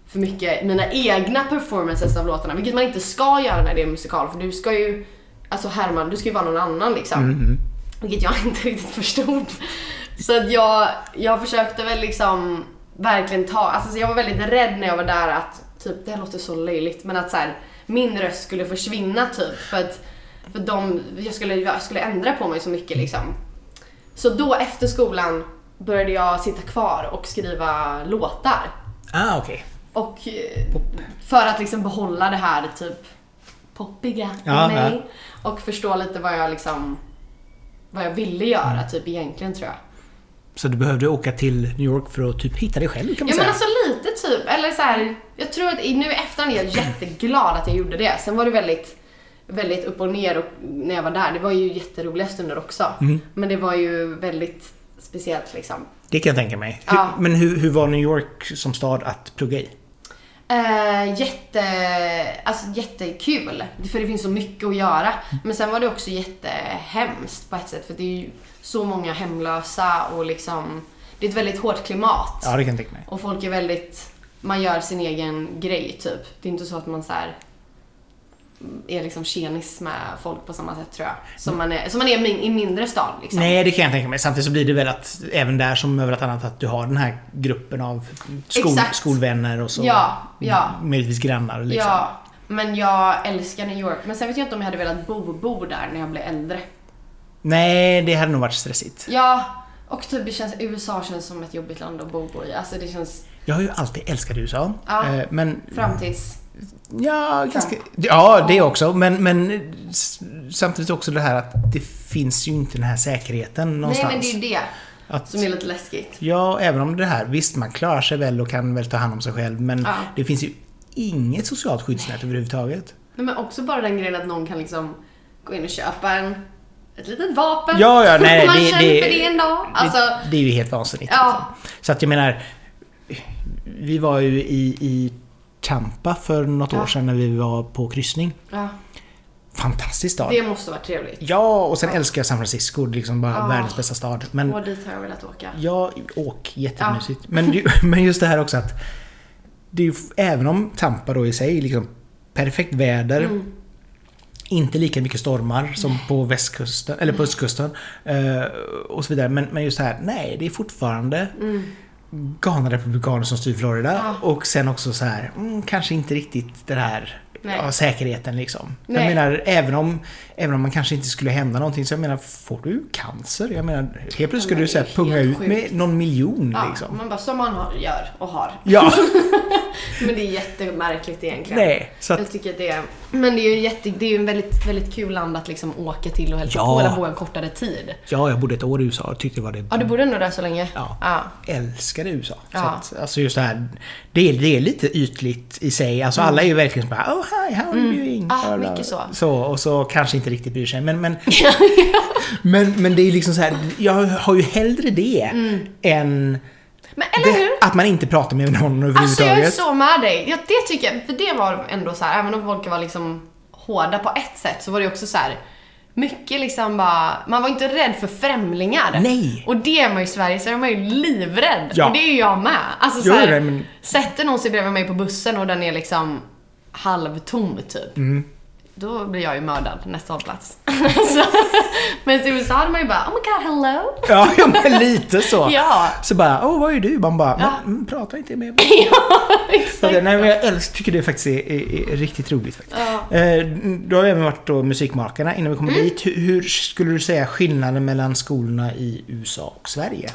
Speaker 2: för mycket mina egna performances av låtarna, vilket man inte ska göra när det är musikal för du ska ju, alltså Herman, du ska ju vara någon annan liksom. Vilket jag inte riktigt förstod. Så att jag, jag försökte väl liksom verkligen ta, alltså så jag var väldigt rädd när jag var där att typ, det här låter så löjligt, men att så här, min röst skulle försvinna typ för att för de, jag, skulle, jag skulle ändra på mig så mycket liksom. Så då efter skolan började jag sitta kvar och skriva låtar.
Speaker 1: Ah, okej.
Speaker 2: Och eh, för att liksom behålla det här typ poppiga
Speaker 1: Ja,
Speaker 2: i mig. Och förstå lite vad jag liksom vad jag ville göra
Speaker 1: Mm.
Speaker 2: typ egentligen tror jag.
Speaker 1: Så du behövde åka till New York för att typ hitta dig själv kan man
Speaker 2: Ja
Speaker 1: säga?
Speaker 2: men alltså lite typ, eller så här, jag tror att i- nu i efterhand är jag jätteglad att jag gjorde det. Sen var det väldigt, väldigt upp och ner och när
Speaker 1: Mm.
Speaker 2: jag var där. Det var ju jätteroliga stunder också. Men det var ju väldigt speciellt liksom.
Speaker 1: Det kan jag tänka mig.
Speaker 2: Ja.
Speaker 1: Hur, men hur, hur var New York som stad att plugga i?
Speaker 2: Eh, jätte, alltså jättekul, för det finns så mycket att göra. Men sen var det också jättehemskt på ett sätt, för det är ju så många hemlösa och liksom, det är ett väldigt hårt klimat.
Speaker 1: Ja, det kan jag tänka mig.
Speaker 2: Och folk är väldigt, man gör sin egen grej typ. Det är inte så att man så här är liksom tjenis med folk på samma sätt tror jag. Som man är, som man är i min- i mindre stad liksom.
Speaker 1: Nej, det kan jag tänka mig. Samtidigt så blir det väl att även där som överallt annat att du har den här gruppen av skol,
Speaker 2: Exakt.
Speaker 1: skolvänner och så
Speaker 2: Ja, ja.
Speaker 1: möjligtvis grannar. Liksom.
Speaker 2: Ja, men jag älskar New York. Men sen vet jag inte om jag hade velat bo, bo där när jag blev äldre.
Speaker 1: Nej, det hade nog varit stressigt.
Speaker 2: Ja, och typ det känns, USA känns som ett jobbigt land att bo i. Alltså det känns
Speaker 1: Jag har ju alltid älskat USA.
Speaker 2: Ja.
Speaker 1: eh, Men
Speaker 2: fram tills...
Speaker 1: Ja, ganska, ja det också. Men, men s- samtidigt också det här att det finns ju inte den här säkerheten
Speaker 2: Nej
Speaker 1: någonstans.
Speaker 2: men det är ju det
Speaker 1: att,
Speaker 2: som är lite läskigt.
Speaker 1: ja, även om det här, visst man klarar sig väl och kan väl ta hand om sig själv men
Speaker 2: Ja.
Speaker 1: det finns ju inget socialt skyddsnät överhuvudtaget.
Speaker 2: Nej, men också bara den grejen att någon kan liksom gå in och köpa en, ett litet vapen.
Speaker 1: Ja, ja, nej,
Speaker 2: Man
Speaker 1: det-
Speaker 2: känner
Speaker 1: det-
Speaker 2: för det en dag. Alltså,
Speaker 1: det, det är ju helt vansinnigt. liksom.
Speaker 2: Ja.
Speaker 1: Så att jag menar, vi var ju i, i Tampa för något år
Speaker 2: Ja.
Speaker 1: sedan när vi var på kryssning.
Speaker 2: ja,
Speaker 1: Fantastisk stad.
Speaker 2: det måste vara trevligt.
Speaker 1: Ja, och sen älskar jag San Francisco. Det är liksom bara
Speaker 2: Ja.
Speaker 1: världens bästa stad. Men Mm,
Speaker 2: Och dit har jag velat åka.
Speaker 1: Ja, åk. Jättemysigt. Men, ju- men just det här också att det är ju, f- även om Tampa då i sig liksom perfekt väder,
Speaker 2: Mm.
Speaker 1: inte lika mycket stormar som på västkusten, eller på östkusten eh, och så vidare. Men, men just det här, nej det är fortfarande galna republikaner som styr Florida
Speaker 2: Mm. Ja.
Speaker 1: och sen också så här, mm, kanske inte riktigt den här
Speaker 2: Nej.
Speaker 1: ja, säkerheten liksom.
Speaker 2: Nej.
Speaker 1: Jag menar, även om, även om man kanske inte skulle hända någonting så jag menar, får du cancer? Jag menar, helt plötsligt skulle du
Speaker 2: det
Speaker 1: säga
Speaker 2: är
Speaker 1: punga
Speaker 2: helt
Speaker 1: ut med någon miljon
Speaker 2: Ja,
Speaker 1: liksom.
Speaker 2: Man bara, som man har, gör och har.
Speaker 1: Ja,
Speaker 2: Men det är jättemärkligt egentligen.
Speaker 1: nej. Så att,
Speaker 2: Jag tycker att det är, men det är ju jätte, det är ju en väldigt, väldigt kul land att liksom åka till och hälsa
Speaker 1: Ja.
Speaker 2: på eller bo en kortare tid.
Speaker 1: ja, jag bodde ett år i USA och tyckte det var det
Speaker 2: Ja, du bodde ändå där så länge?
Speaker 1: Ja.
Speaker 2: ja.
Speaker 1: älskade USA.
Speaker 2: Ja.
Speaker 1: Så att, alltså just det här, det är, det är lite ytligt i sig. Alltså alla är ju verkligen så bara oh hi, how are you doing?
Speaker 2: Ah,
Speaker 1: Alla-
Speaker 2: mycket så.
Speaker 1: så. Och så kanske inte riktigt bryr sig. Men, men, men, men det är liksom så här, jag har ju hellre det
Speaker 2: Mm.
Speaker 1: än
Speaker 2: Men eller hur?
Speaker 1: det, att man inte pratar med någon
Speaker 2: Alltså jag är
Speaker 1: överhuvudtaget.
Speaker 2: så med dig. Ja, det tycker jag. För det var ändå så här, även om folk var liksom hårda på ett sätt så var det också så här mycket liksom bara, man var inte rädd för främlingar.
Speaker 1: Nej.
Speaker 2: Och det är man ju i Sverige, så är man ju livrädd.
Speaker 1: Ja.
Speaker 2: Och det är ju jag med. Alltså så
Speaker 1: Jo,
Speaker 2: här,
Speaker 1: nej, men-
Speaker 2: sätter någon sig bredvid mig på bussen och den är liksom halvtom typ.
Speaker 1: Mm.
Speaker 2: Då blir jag ju mördad nästa hållplats. så, men i USA hade man ju bara, oh my god, hello.
Speaker 1: Ja, ja, men lite så.
Speaker 2: Ja.
Speaker 1: Så bara, åh vad är du? Man bara,
Speaker 2: Ja.
Speaker 1: "Men, mm, prata inte med mig. Så
Speaker 2: Exakt.
Speaker 1: det- Nej, men jag älsk, tycker det faktiskt är, är, är riktigt roligt. Faktiskt. Eh, du har ju även varit då musikmakarna innan vi kommer
Speaker 2: Mm.
Speaker 1: dit. Hur, hur skulle du säga skillnaden mellan skolorna i USA och Sverige?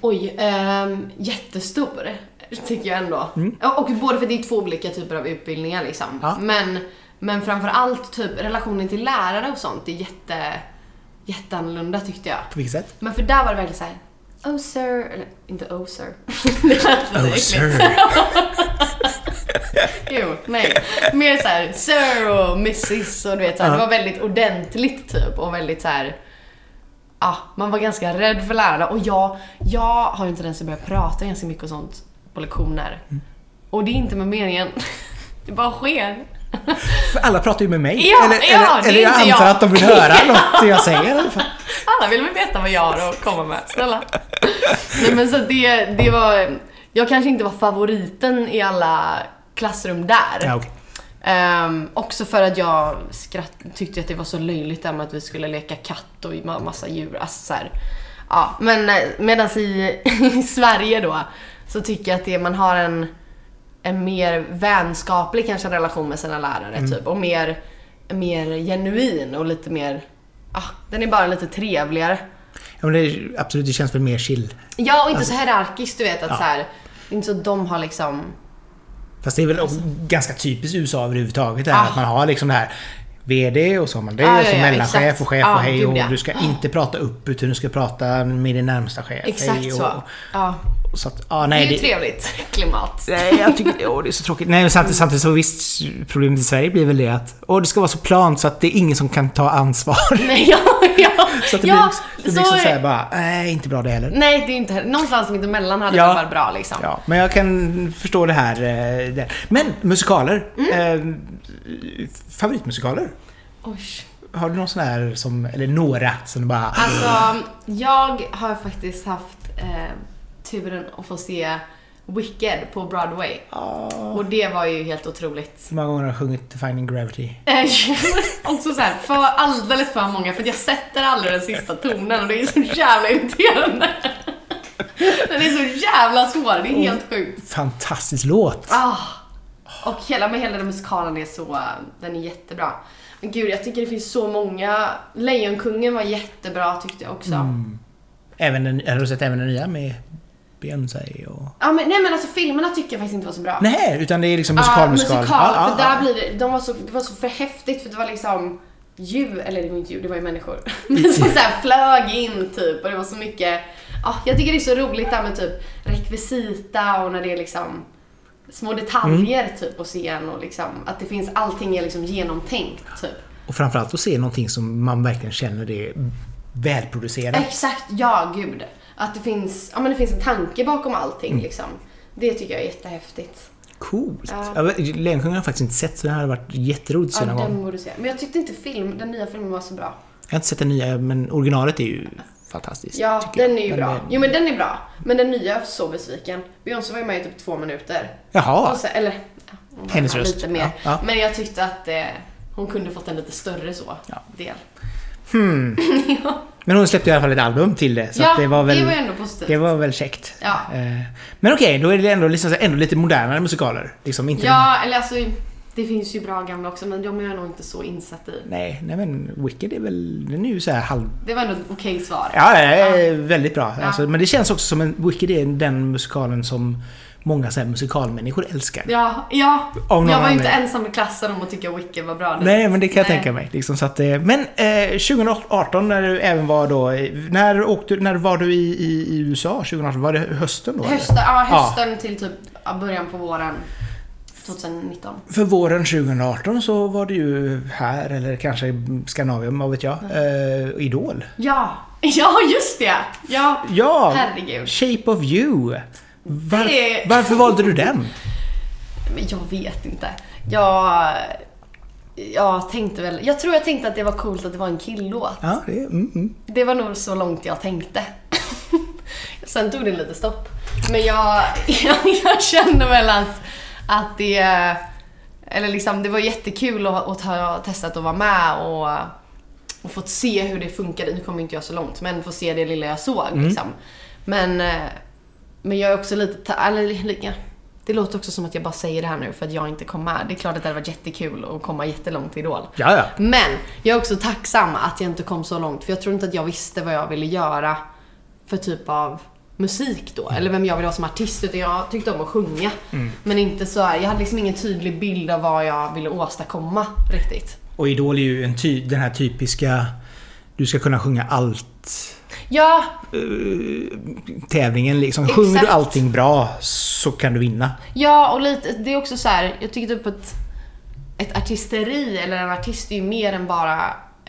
Speaker 2: Oj, ehm, jättestor tycker jag ändå. Ja, Och både för det är två olika typer av utbildningar liksom.
Speaker 1: Ja.
Speaker 2: Men, men framförallt typ relationen till lärare och sånt är jätte, jätteannorlunda tyckte jag.
Speaker 1: På vilket sätt?
Speaker 2: Men för där var det verkligen såhär, oh sir, eller inte oh sir. det lät lite äckligt. Jo, nej. Mer såhär sir och mrs och du vet såhär, det var väldigt ordentligt typ och väldigt såhär Ja, man var ganska rädd för lärarna och jag, jag har ju en tendens att börja prata ganska mycket och sånt på lektioner. Och det är inte med meningen. Det bara sker.
Speaker 1: För alla pratar ju med mig.
Speaker 2: Ja,
Speaker 1: eller,
Speaker 2: ja,
Speaker 1: eller,
Speaker 2: det är
Speaker 1: eller jag
Speaker 2: inte
Speaker 1: antar
Speaker 2: jag.
Speaker 1: att de vill höra något jag säger i alla fall.
Speaker 2: Alla vill väl veta vad jag har att komma med, snälla. Nej men så att det, det var, jag kanske inte var favoriten i alla klassrum där.
Speaker 1: Ja, okej.
Speaker 2: Ehm, också för att jag skratt, tyckte att det var så löjligt där med att vi skulle leka katt och ma- massa djur. Alltså så här. Ja, men medan i, i Sverige då så tycker jag att det, man har en, en mer vänskaplig kanske relation med sina lärare
Speaker 1: Mm.
Speaker 2: typ och mer, mer genuin och lite mer, ah, den är bara lite trevligare.
Speaker 1: ja, men det, är- absolut, det känns väl mer chill.
Speaker 2: Ja, och inte så hierarkiskt du vet att
Speaker 1: Alltså- Ja.
Speaker 2: så här, det är inte så att de har liksom
Speaker 1: Fast det är väl ganska typiskt USA överhuvudtaget det här
Speaker 2: Ah.
Speaker 1: att man har liksom det här VD och så har man det
Speaker 2: Ah,
Speaker 1: och så
Speaker 2: ja, ja,
Speaker 1: mellanchef
Speaker 2: exakt.
Speaker 1: och chef
Speaker 2: Ah,
Speaker 1: och hej
Speaker 2: gud,
Speaker 1: och
Speaker 2: ja.
Speaker 1: du ska inte prata upp utan du ska prata med din närmsta chef.
Speaker 2: exakt
Speaker 1: hej, och,
Speaker 2: så. Ja.
Speaker 1: Så att, ja,
Speaker 2: Det
Speaker 1: nej,
Speaker 2: är ju
Speaker 1: det,
Speaker 2: trevligt klimat.
Speaker 1: nej, jag tycker åh, det är så tråkigt. Nej, men samtidigt, samtidigt så visst, problemet i Sverige blir väl det att åh, det ska vara så plant så att det är ingen som kan ta ansvar.
Speaker 2: Nej, ja, ja.
Speaker 1: Så att det
Speaker 2: ja,
Speaker 1: blir, det blir liksom såhär bara, nej, inte bra det heller.
Speaker 2: Nej, det är inte heller. Någonstans mitt emellan hade
Speaker 1: Ja.
Speaker 2: det varit bra liksom.
Speaker 1: Ja, men jag kan förstå det här. eh, det. Men musikaler.
Speaker 2: Mm.
Speaker 1: Eh, favoritmusikaler?
Speaker 2: Oj.
Speaker 1: Har du någon sån här som, eller några som bara...
Speaker 2: Alltså, jag har faktiskt haft eh, turen att få se Wicked på Broadway.
Speaker 1: "Ah."
Speaker 2: Och det var ju helt otroligt.
Speaker 1: Hur många gånger har jag sjungit Defining Gravity?
Speaker 2: Eh, Också så här, för alldeles för många för att jag sätter aldrig den sista tonen och det är så jävla irriterande. Den är så jävla svår, det är helt sjukt.
Speaker 1: Fantastisk låt!
Speaker 2: Ah. Och hela, men hela den musikalen är så, den är jättebra. Men gud, jag tycker det finns så många. Lejonkungen var jättebra tyckte jag också.
Speaker 1: Även den, har du sett även den nya med Beyoncé och...
Speaker 2: Ja, men, nej men alltså filmerna tycker jag faktiskt inte var så bra.
Speaker 1: Nej, utan det är liksom
Speaker 2: Ja,
Speaker 1: musikal, musikal.
Speaker 2: musikal.
Speaker 1: Ja,
Speaker 2: för
Speaker 1: ja,
Speaker 2: där
Speaker 1: ja.
Speaker 2: blir det, de var så, det var så för häftigt för det var liksom djur, eller det var inte djur, det var ju människor. Men som så här flög in typ och det var så mycket, ja, jag tycker det är så roligt där med typ rekvisita och när det är liksom små detaljer
Speaker 1: Mm.
Speaker 2: typ på scen och liksom att det finns, allting är liksom genomtänkt typ.
Speaker 1: Och framförallt att se någonting som man verkligen känner det är välproducerat.
Speaker 2: Exakt, ja gud. Att det finns, ja men det finns en tanke bakom allting
Speaker 1: Mm.
Speaker 2: liksom. Det tycker jag är jättehäftigt.
Speaker 1: Coolt!
Speaker 2: Ja.
Speaker 1: Ja. Lejonkungen har jag faktiskt inte sett så det här har varit jätteroligt att
Speaker 2: Ja,
Speaker 1: se någon gång.
Speaker 2: den borde se. Men jag tyckte inte film, den nya filmen var så bra.
Speaker 1: Jag har inte sett den nya, men originalet är ju fantastiskt.
Speaker 2: Ja,
Speaker 1: tycker jag.
Speaker 2: den är ju bra.
Speaker 1: är-
Speaker 2: Jo men den är bra. Men den nya, jag var så besviken. Beyoncé var ju med i typ två minuter.
Speaker 1: Jaha!
Speaker 2: Och så, eller, ja, hon var
Speaker 1: Hennes
Speaker 2: med
Speaker 1: röst.
Speaker 2: Lite mer.
Speaker 1: Ja, ja.
Speaker 2: Men jag tyckte att eh, hon kunde fått en lite större så,
Speaker 1: Ja.
Speaker 2: del.
Speaker 1: Men hon släppte i alla fall ett album till det, så
Speaker 2: ja,
Speaker 1: att det var väl...
Speaker 2: det var ju ändå positivt.
Speaker 1: det var väl käckt.
Speaker 2: Ja.
Speaker 1: Eh, Men okej, då är det ändå, liksom, så här- ändå lite modernare musikaler. Liksom, inte den här-
Speaker 2: Ja, eller alltså, det finns ju bra gamla också men de är jag nog inte så insatt i.
Speaker 1: nej, nej, men Wicked är väl... Den är ju så här halv...
Speaker 2: Det var ändå ett okej svar.
Speaker 1: Ja, ja, ja. väldigt bra.
Speaker 2: Ja.
Speaker 1: Alltså, men det känns också som en... Wicked är den musikalen som många så här, musikalmänniskor älskar.
Speaker 2: Ja, ja.
Speaker 1: Av någon
Speaker 2: jag var ju inte
Speaker 1: anledning.
Speaker 2: ensam i klassen om att tycka Wicked var bra.
Speaker 1: Nej, men det kan jag
Speaker 2: Nej.
Speaker 1: tänka mig. Liksom, så att, eh, men eh, 2018 när du även var då... eh, När, åkte, när var du i, i, i USA 2018? Var det hösten då? eller?
Speaker 2: Hösten, ja,
Speaker 1: Ja.
Speaker 2: hösten till typ ja, början på våren 2019.
Speaker 1: För våren 2018 så var det ju här, eller kanske i Skandinavien, vad vet jag, eh, Idol.
Speaker 2: Ja, ja just det! Ja,
Speaker 1: Ja!
Speaker 2: herregud.
Speaker 1: Shape of you! Var,
Speaker 2: Det-
Speaker 1: Varför valde du den?
Speaker 2: Men jag vet inte. Jag, jag tänkte väl, jag tror jag tänkte att det var coolt att det var en killåt.
Speaker 1: Ja, det, mm, mm.
Speaker 2: Det var nog så långt jag tänkte. Sen tog det lite stopp. Men jag, jag, jag kände väl att, att det... Eller liksom, det var jättekul att, att ha testat att vara med och, och fått se hur det funkade. Nu kommer inte jag så långt, men få se det lilla jag såg. Liksom. Men, eh, men jag är också lite... ta- Eller, lika- det låter också som att jag bara säger det här nu för att jag inte kom med. Det är klart att det hade varit jättekul att komma jättelångt i Idol.
Speaker 1: ja, ja.
Speaker 2: Men jag är också tacksam att jag inte kom så långt för jag tror inte att jag visste vad jag ville göra för typ av musik då. Eller vem jag ville vara som artist utan jag tyckte om att sjunga. Men inte så här, jag hade liksom ingen tydlig bild av vad jag ville åstadkomma riktigt.
Speaker 1: Och Idol är ju en ty, den här typiska du ska kunna sjunga allt
Speaker 2: Ja,
Speaker 1: tävlingen liksom. Sjunger du
Speaker 2: Exakt.
Speaker 1: allting bra så kan du vinna.
Speaker 2: ja och lite, det är också så här, jag tycker typ att ett artisteri eller en artist är ju mer än bara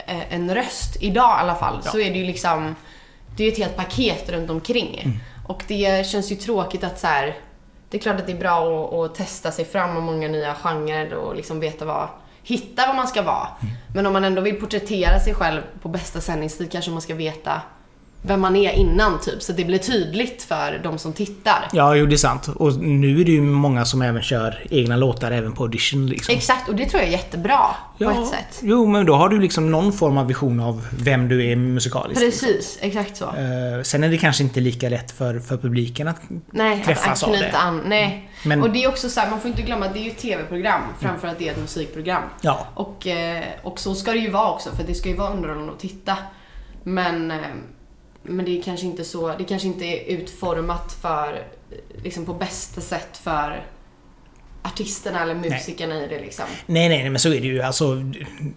Speaker 2: eh, en röst. Idag i alla fall så är det ju liksom, det är ju ett helt paket runt omkring. Och det känns ju tråkigt att så här, det är klart att det är bra att, att testa sig fram och många nya genrer och liksom veta vad, hitta vad man ska vara. Men om man ändå vill porträttera sig själv på bästa sändningstid kanske man ska veta vem man är innan typ, så att det blir tydligt för de som tittar.
Speaker 1: Ja, jo det är sant. Och nu är det ju många som även kör egna låtar även på audition liksom.
Speaker 2: Exakt, och det tror jag är jättebra
Speaker 1: Ja,
Speaker 2: på ett sätt.
Speaker 1: Jo, men då har du liksom någon form av vision av vem du är musikaliskt.
Speaker 2: Precis, exakt så.
Speaker 1: Eh, sen är det kanske inte lika lätt för, för publiken att...
Speaker 2: Nej,
Speaker 1: träffas
Speaker 2: att
Speaker 1: av
Speaker 2: knyta
Speaker 1: det.
Speaker 2: an. Nej.
Speaker 1: Men-
Speaker 2: Och det är också så här, man får inte glömma att det är ju ett tv-program framför att det är ett musikprogram.
Speaker 1: Ja.
Speaker 2: Och, eh, och så ska det ju vara också, för det ska ju vara underhållande att titta. Men, eh, men det är kanske inte så, det kanske inte är utformat för, eh, liksom på bästa sätt för artisterna eller musikerna i det liksom.
Speaker 1: Nej, nej, nej, men så är det ju. Alltså,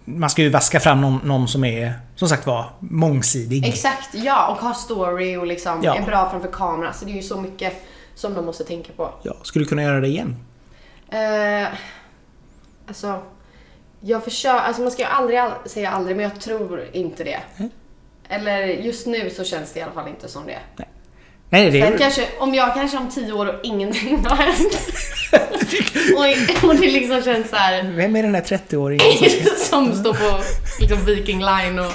Speaker 1: man ska ju vaska fram någon, någon som är, som sagt var, mångsidig.
Speaker 2: Exakt, ja. Och har story och liksom
Speaker 1: Mm. Ja.
Speaker 2: är bra framför kameran. Så Alltså, det är ju så mycket. som de måste tänka på.
Speaker 1: Ja, skulle du kunna göra det igen?
Speaker 2: Eh, alltså, jag försöker, alltså man ska ju aldrig all- säga aldrig, men jag tror inte det.
Speaker 1: Nej.
Speaker 2: Eller just nu så känns det i alla fall inte som det.
Speaker 1: Nej, det
Speaker 2: Sen
Speaker 1: är...
Speaker 2: kanske, om jag kanske om tio år och ingenting har hänt. och, och det liksom känns så här
Speaker 1: Vem är den där 30-åringen?
Speaker 2: som står på liksom Viking Line och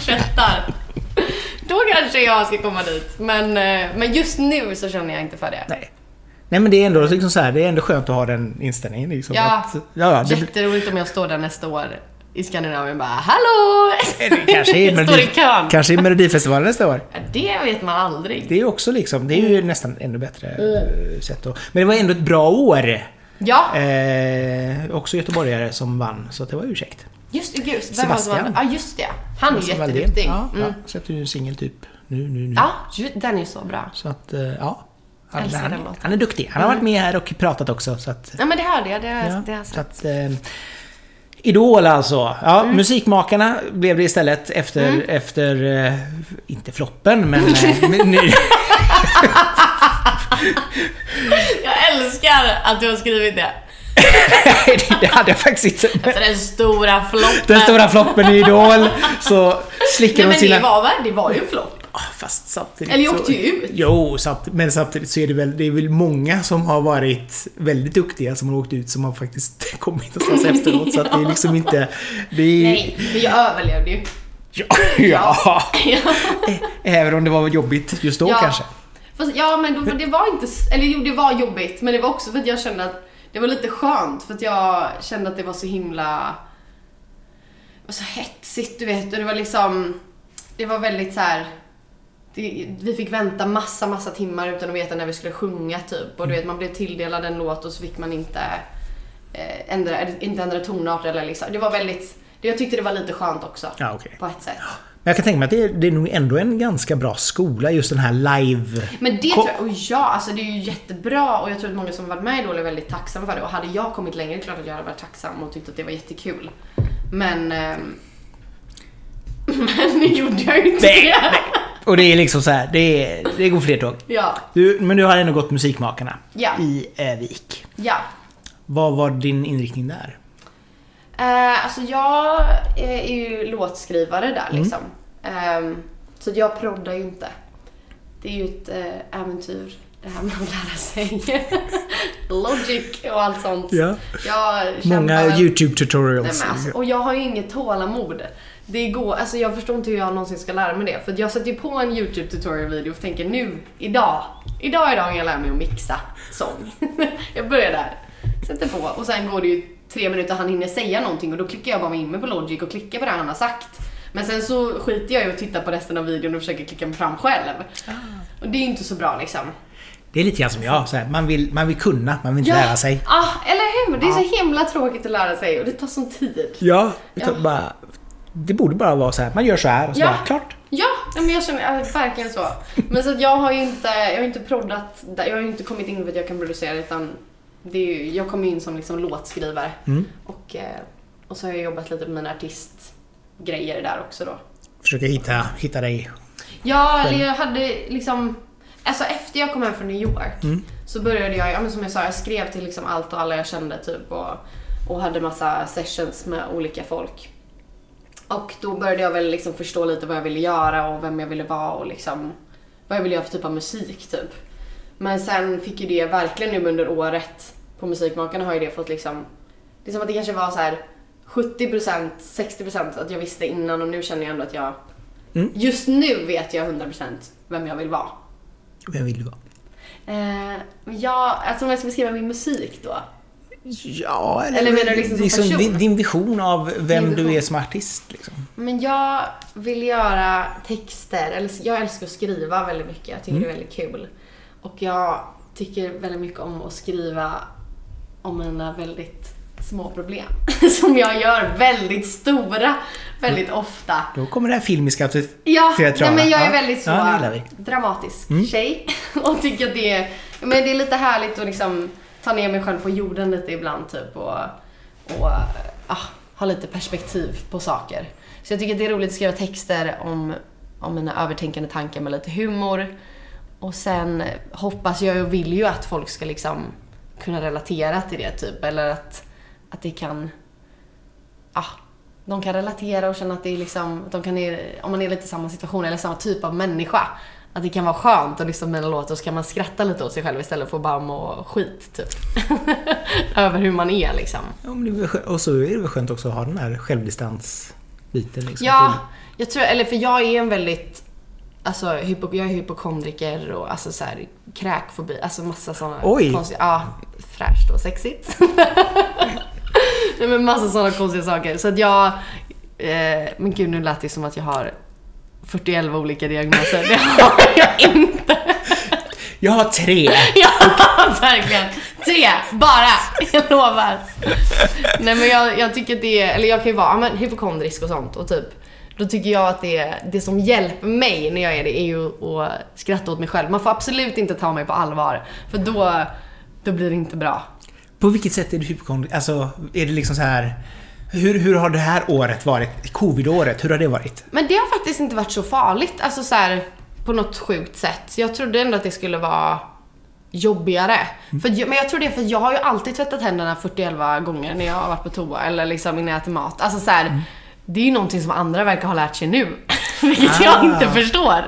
Speaker 2: köttar. Då kanske jag ska komma dit. Men, eh, men just nu så känner jag inte för det.
Speaker 1: Nej. Nej men det är ändå liksom så här, det är ändå skönt att ha den inställningen liksom.
Speaker 2: Ja.
Speaker 1: Att, ja, ja det, blir-
Speaker 2: Jätteroligt om jag står där nästa år i Skandinavien bara Hallå!
Speaker 1: det kanske är
Speaker 2: Står i kön.
Speaker 1: kanske är Melodifestivalen nästa år.
Speaker 2: Ja, Det vet man aldrig.
Speaker 1: Det är ju också liksom, det är
Speaker 2: Mm.
Speaker 1: ju nästan ännu bättre eh, sätt att... Men det var ändå ett bra år.
Speaker 2: Ja,
Speaker 1: Eh, också göteborgare som vann, så att det var ursäkt.
Speaker 2: just gud. Vem var det som
Speaker 1: Sebastian.
Speaker 2: vann? Ja, just det. Han är ju
Speaker 1: Som Valdén.
Speaker 2: jätteduktig.
Speaker 1: Ja,
Speaker 2: Mm.
Speaker 1: ja, släppte ju en singel typ nu, nu, nu.
Speaker 2: Ja, ju- den är ju så bra.
Speaker 1: Så att, eh, ja. Han,
Speaker 2: Älskar
Speaker 1: han,
Speaker 2: den låten. Mm.
Speaker 1: han är duktig. Han har varit med här och pratat också, så att...
Speaker 2: Ja, men det hörde jag. Det, har
Speaker 1: Ja,
Speaker 2: jag- Alltså, det har jag
Speaker 1: så
Speaker 2: sett. Mm.
Speaker 1: att, eh, Idol alltså. Ja, Musikmakarna blev det istället efter, efter eh, inte floppen, men... eh, men ny,
Speaker 2: Jag älskar att du har skrivit det.
Speaker 1: det hade jag faktiskt inte.
Speaker 2: Efter den stora floppen.
Speaker 1: Den stora floppen i Idol, så slickar
Speaker 2: Nej,
Speaker 1: de
Speaker 2: men
Speaker 1: sina...
Speaker 2: det var, väl- det var ju en flopp.
Speaker 1: Ah, Fast samtidigt
Speaker 2: Eller jag
Speaker 1: så-
Speaker 2: åkte ju ut.
Speaker 1: Jo, samt, men samtidigt så är det väl, det är väl många som har varit väldigt duktiga som har åkt ut som har faktiskt kommit någonstans efteråt. Så att det är liksom inte... Det är,
Speaker 2: Nej, men jag överlevde ju.
Speaker 1: Ja, ja.
Speaker 2: Ja.
Speaker 1: Även om det var jobbigt just då kanske.
Speaker 2: Fast, ja, men då, det var inte... s- Eller jo, det var jobbigt. Men det var också för att jag kände att... Det var lite skönt för att jag kände att det var så himla... Det var så hetsigt, du vet. Och det var liksom... Det var väldigt så här... Det, vi fick vänta massa, massa timmar utan att veta när vi skulle sjunga typ. Och du vet, man blev tilldelad en låt och så fick man inte eh, ändra, inte ändra tonart eller liksom. Det var väldigt... Det, jag tyckte det var lite skönt också.
Speaker 1: Ja, okej.
Speaker 2: På ett sätt.
Speaker 1: Men jag kan tänka mig att det är, det är nog ändå en ganska bra skola, just den här live...
Speaker 2: Men det
Speaker 1: Ko-
Speaker 2: tror jag, och ja, alltså det är ju jättebra och jag tror att många som varit med i Idol är väldigt tacksamma för det. Och hade jag kommit längre, det är klart att jag hade varit tacksam och tyckt att det var jättekul. Men... ehm, men nu gjorde jag ju inte
Speaker 1: Nej,
Speaker 2: det.
Speaker 1: Och det är liksom så här, det, är, det går fler tåg.
Speaker 2: Ja,
Speaker 1: Du, men du har ändå gått Musikmakarna
Speaker 2: Ja.
Speaker 1: i eh, Vik.
Speaker 2: ja.
Speaker 1: Vad var din inriktning där?
Speaker 2: Eh, alltså jag är ju låtskrivare där
Speaker 1: Mm.
Speaker 2: liksom. Ehm, så att jag proddar ju inte. Det är ju ett eh, äventyr det här med att lära sig logic och allt sånt.
Speaker 1: Ja.
Speaker 2: Jag kämpar
Speaker 1: Många
Speaker 2: väl-
Speaker 1: YouTube
Speaker 2: Nej,
Speaker 1: tutorials.
Speaker 2: men alltså, och jag har ju inget tålamod. Det går, alltså jag förstår inte hur jag någonsin ska lära mig det. För att jag sätter ju på en YouTube tutorial video och tänker nu, idag, idag är dagen jag lär mig att mixa sång. jag börjar där, sätter på och sen går det ju tre minuter han hinner säga någonting och då klickar jag bara mig in mig på Logic och klickar på det han har sagt. Men sen så skiter jag i att titta på resten av videon och försöker klicka mig fram själv. Och det är ju inte så bra liksom.
Speaker 1: Det är lite grann som jag, så här, man, vill, man vill kunna, man vill inte lära sig.
Speaker 2: Ah, eller hur? Det är så himla tråkigt att lära sig och det tar sån tid.
Speaker 1: Ja, utan bara... Det borde bara vara så här, man gör så här och så
Speaker 2: Ja.
Speaker 1: bara, klart.
Speaker 2: Ja, ja, men jag känner ja, verkligen så. Men så att jag har ju inte, jag har ju inte proddat, där- jag har ju inte kommit in för att jag kan producera utan det är ju, jag kom in som liksom låtskrivare. Och, eh, och så har jag jobbat lite med mina artistgrejer där också då.
Speaker 1: Försöker hitta, hitta dig.
Speaker 2: Ja, eller jag hade liksom... Alltså efter jag kom hem från New York så började jag, ja, men som jag sa, jag skrev till liksom allt och alla jag kände typ och, och hade massa sessions med olika folk. Och då började jag väl liksom förstå lite vad jag ville göra och vem jag ville vara och liksom vad jag ville göra för typ av musik typ. Men sen fick ju det verkligen nu under året på Musikmakarna har ju det fått liksom, det är som att det kanske var så här 70%, 60% att jag visste innan och nu känner jag ändå att jag Just nu vet jag 100% vem jag vill vara.
Speaker 1: Vem vill du vara?
Speaker 2: Eh, men jag, alltså om jag ska beskriva min musik då.
Speaker 1: Ja,
Speaker 2: Eller menar du liksom som person?
Speaker 1: din, din vision av vem
Speaker 2: Min vision.
Speaker 1: du är som artist. Liksom.
Speaker 2: Men jag vill göra texter, eller jag älskar att skriva väldigt mycket. Jag tycker det är väldigt kul. Och jag tycker väldigt mycket om att skriva om mina väldigt små problem. Som jag gör väldigt stora, väldigt ofta.
Speaker 1: Då kommer det här filmiska till
Speaker 2: Ja,
Speaker 1: till att
Speaker 2: nej,
Speaker 1: träna.
Speaker 2: men jag är
Speaker 1: Ja.
Speaker 2: väldigt så
Speaker 1: Ja, det gillar vi. Mm.
Speaker 2: dramatisk tjej. Och tycker att det är, men det är lite härligt att liksom ta ner mig själv på jorden lite ibland typ och, och ah, ha lite perspektiv på saker. Så jag tycker att det är roligt att skriva texter om, om mina övertänkande tankar med lite humor. Och sen hoppas jag och vill ju att folk ska liksom kunna relatera till det typ. Eller att, att det kan... Ah, de kan relatera och känna att det är liksom... Att de kan, om man är lite i samma situation eller samma typ av människa. Att det kan vara skönt att lyssna på mina låtar och så kan man skratta lite åt sig själv istället för att bara må skit typ. Över hur man är liksom.
Speaker 1: Ja, men det är väl skönt. Och så är det väl skönt också att ha den här självdistansbiten. Liksom,
Speaker 2: Ja,
Speaker 1: till-
Speaker 2: jag tror, eller för jag är en väldigt, alltså hypo, jag är hypokondriker och alltså så här, kräkfobi, alltså massa sådana
Speaker 1: Oj.
Speaker 2: konstiga, ja, fräscht och sexigt. Nej men massa sådana konstiga saker. Så att jag, eh, men gud nu lät det som att jag har 41 olika diagnoser. Det har jag inte.
Speaker 1: Jag har tre!
Speaker 2: Ja, verkligen. Tre, bara. Jag lovar. Nej men jag, jag tycker att det är, eller jag kan ju vara ja, men, hypokondrisk och sånt och typ då tycker jag att det, det som hjälper mig när jag är det är ju att skratta åt mig själv. Man får absolut inte ta mig på allvar för då, då blir det inte bra.
Speaker 1: På vilket sätt är du hypokondrisk? Alltså, är det liksom så här... Hur, hur har det här året varit? Covid-året, hur har det varit?
Speaker 2: Men det har faktiskt inte varit så farligt, alltså så här, på något sjukt sätt. Jag trodde ändå att det skulle vara jobbigare.
Speaker 1: Mm.
Speaker 2: För, jag- men jag tror det är för jag har ju alltid tvättat händerna 41 gånger när jag har varit på toa eller liksom innan jag äter mat. Alltså så
Speaker 1: Mm.
Speaker 2: här, det är ju någonting som andra verkar ha lärt sig nu. Vilket jag
Speaker 1: Ah.
Speaker 2: inte förstår.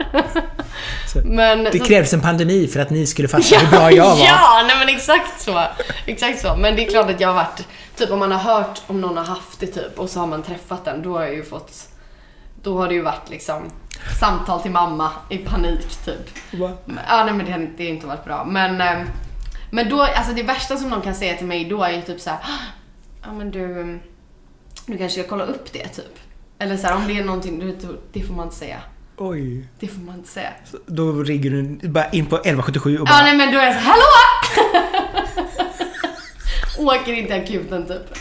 Speaker 1: Så
Speaker 2: Men,
Speaker 1: Det krävs en pandemi för att ni skulle fatta hur bra jag var.
Speaker 2: ja, nej men exakt så. Exakt så. Men det är klart att jag har varit, typ om man har hört om någon har haft det typ och så har man träffat den, då har jag ju fått, då har det ju varit liksom samtal till mamma i panik typ.
Speaker 1: Va?
Speaker 2: Men- Ja, nej men det har inte, det har inte varit bra. Men, eh, men då, alltså det värsta som någon kan säga till mig då är ju typ såhär, "Ah, ja men du, du kanske ska kolla upp det typ. Eller såhär om det är någonting, du- det får man inte säga.
Speaker 1: Oj.
Speaker 2: Det får man inte säga.
Speaker 1: Så Då ringer du bara in på 1177 och
Speaker 2: Ja
Speaker 1: bara...
Speaker 2: nej men då är jag så här, hallå! Åker inte i akuten typ.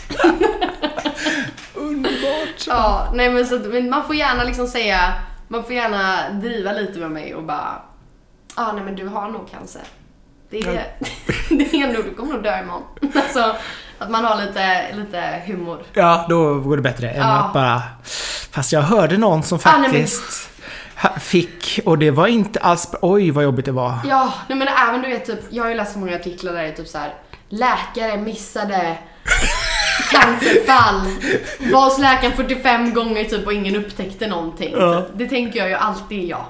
Speaker 1: Underbart!
Speaker 2: Ja, nej men så att, men man får gärna liksom säga, man får gärna driva lite med mig och bara, ja nej men du har nog cancer. Det
Speaker 1: Ja.
Speaker 2: är, det är nog, du kommer nog dö imorgon. Alltså, att man har lite, lite humor.
Speaker 1: Ja, då går det bättre än
Speaker 2: Ja.
Speaker 1: att bara... Fast jag hörde någon som
Speaker 2: Ah, nej, men-
Speaker 1: faktiskt ha- fick och det var inte alls bra. Oj, vad jobbigt det var.
Speaker 2: Ja, nej men även du vet typ, jag har ju läst så många artiklar där det är typ så här. Läkare missade cancerfall. Var hos läkaren 45 gånger typ och ingen upptäckte någonting.
Speaker 1: Ja.
Speaker 2: Typ. Det tänker jag ju alltid är jag.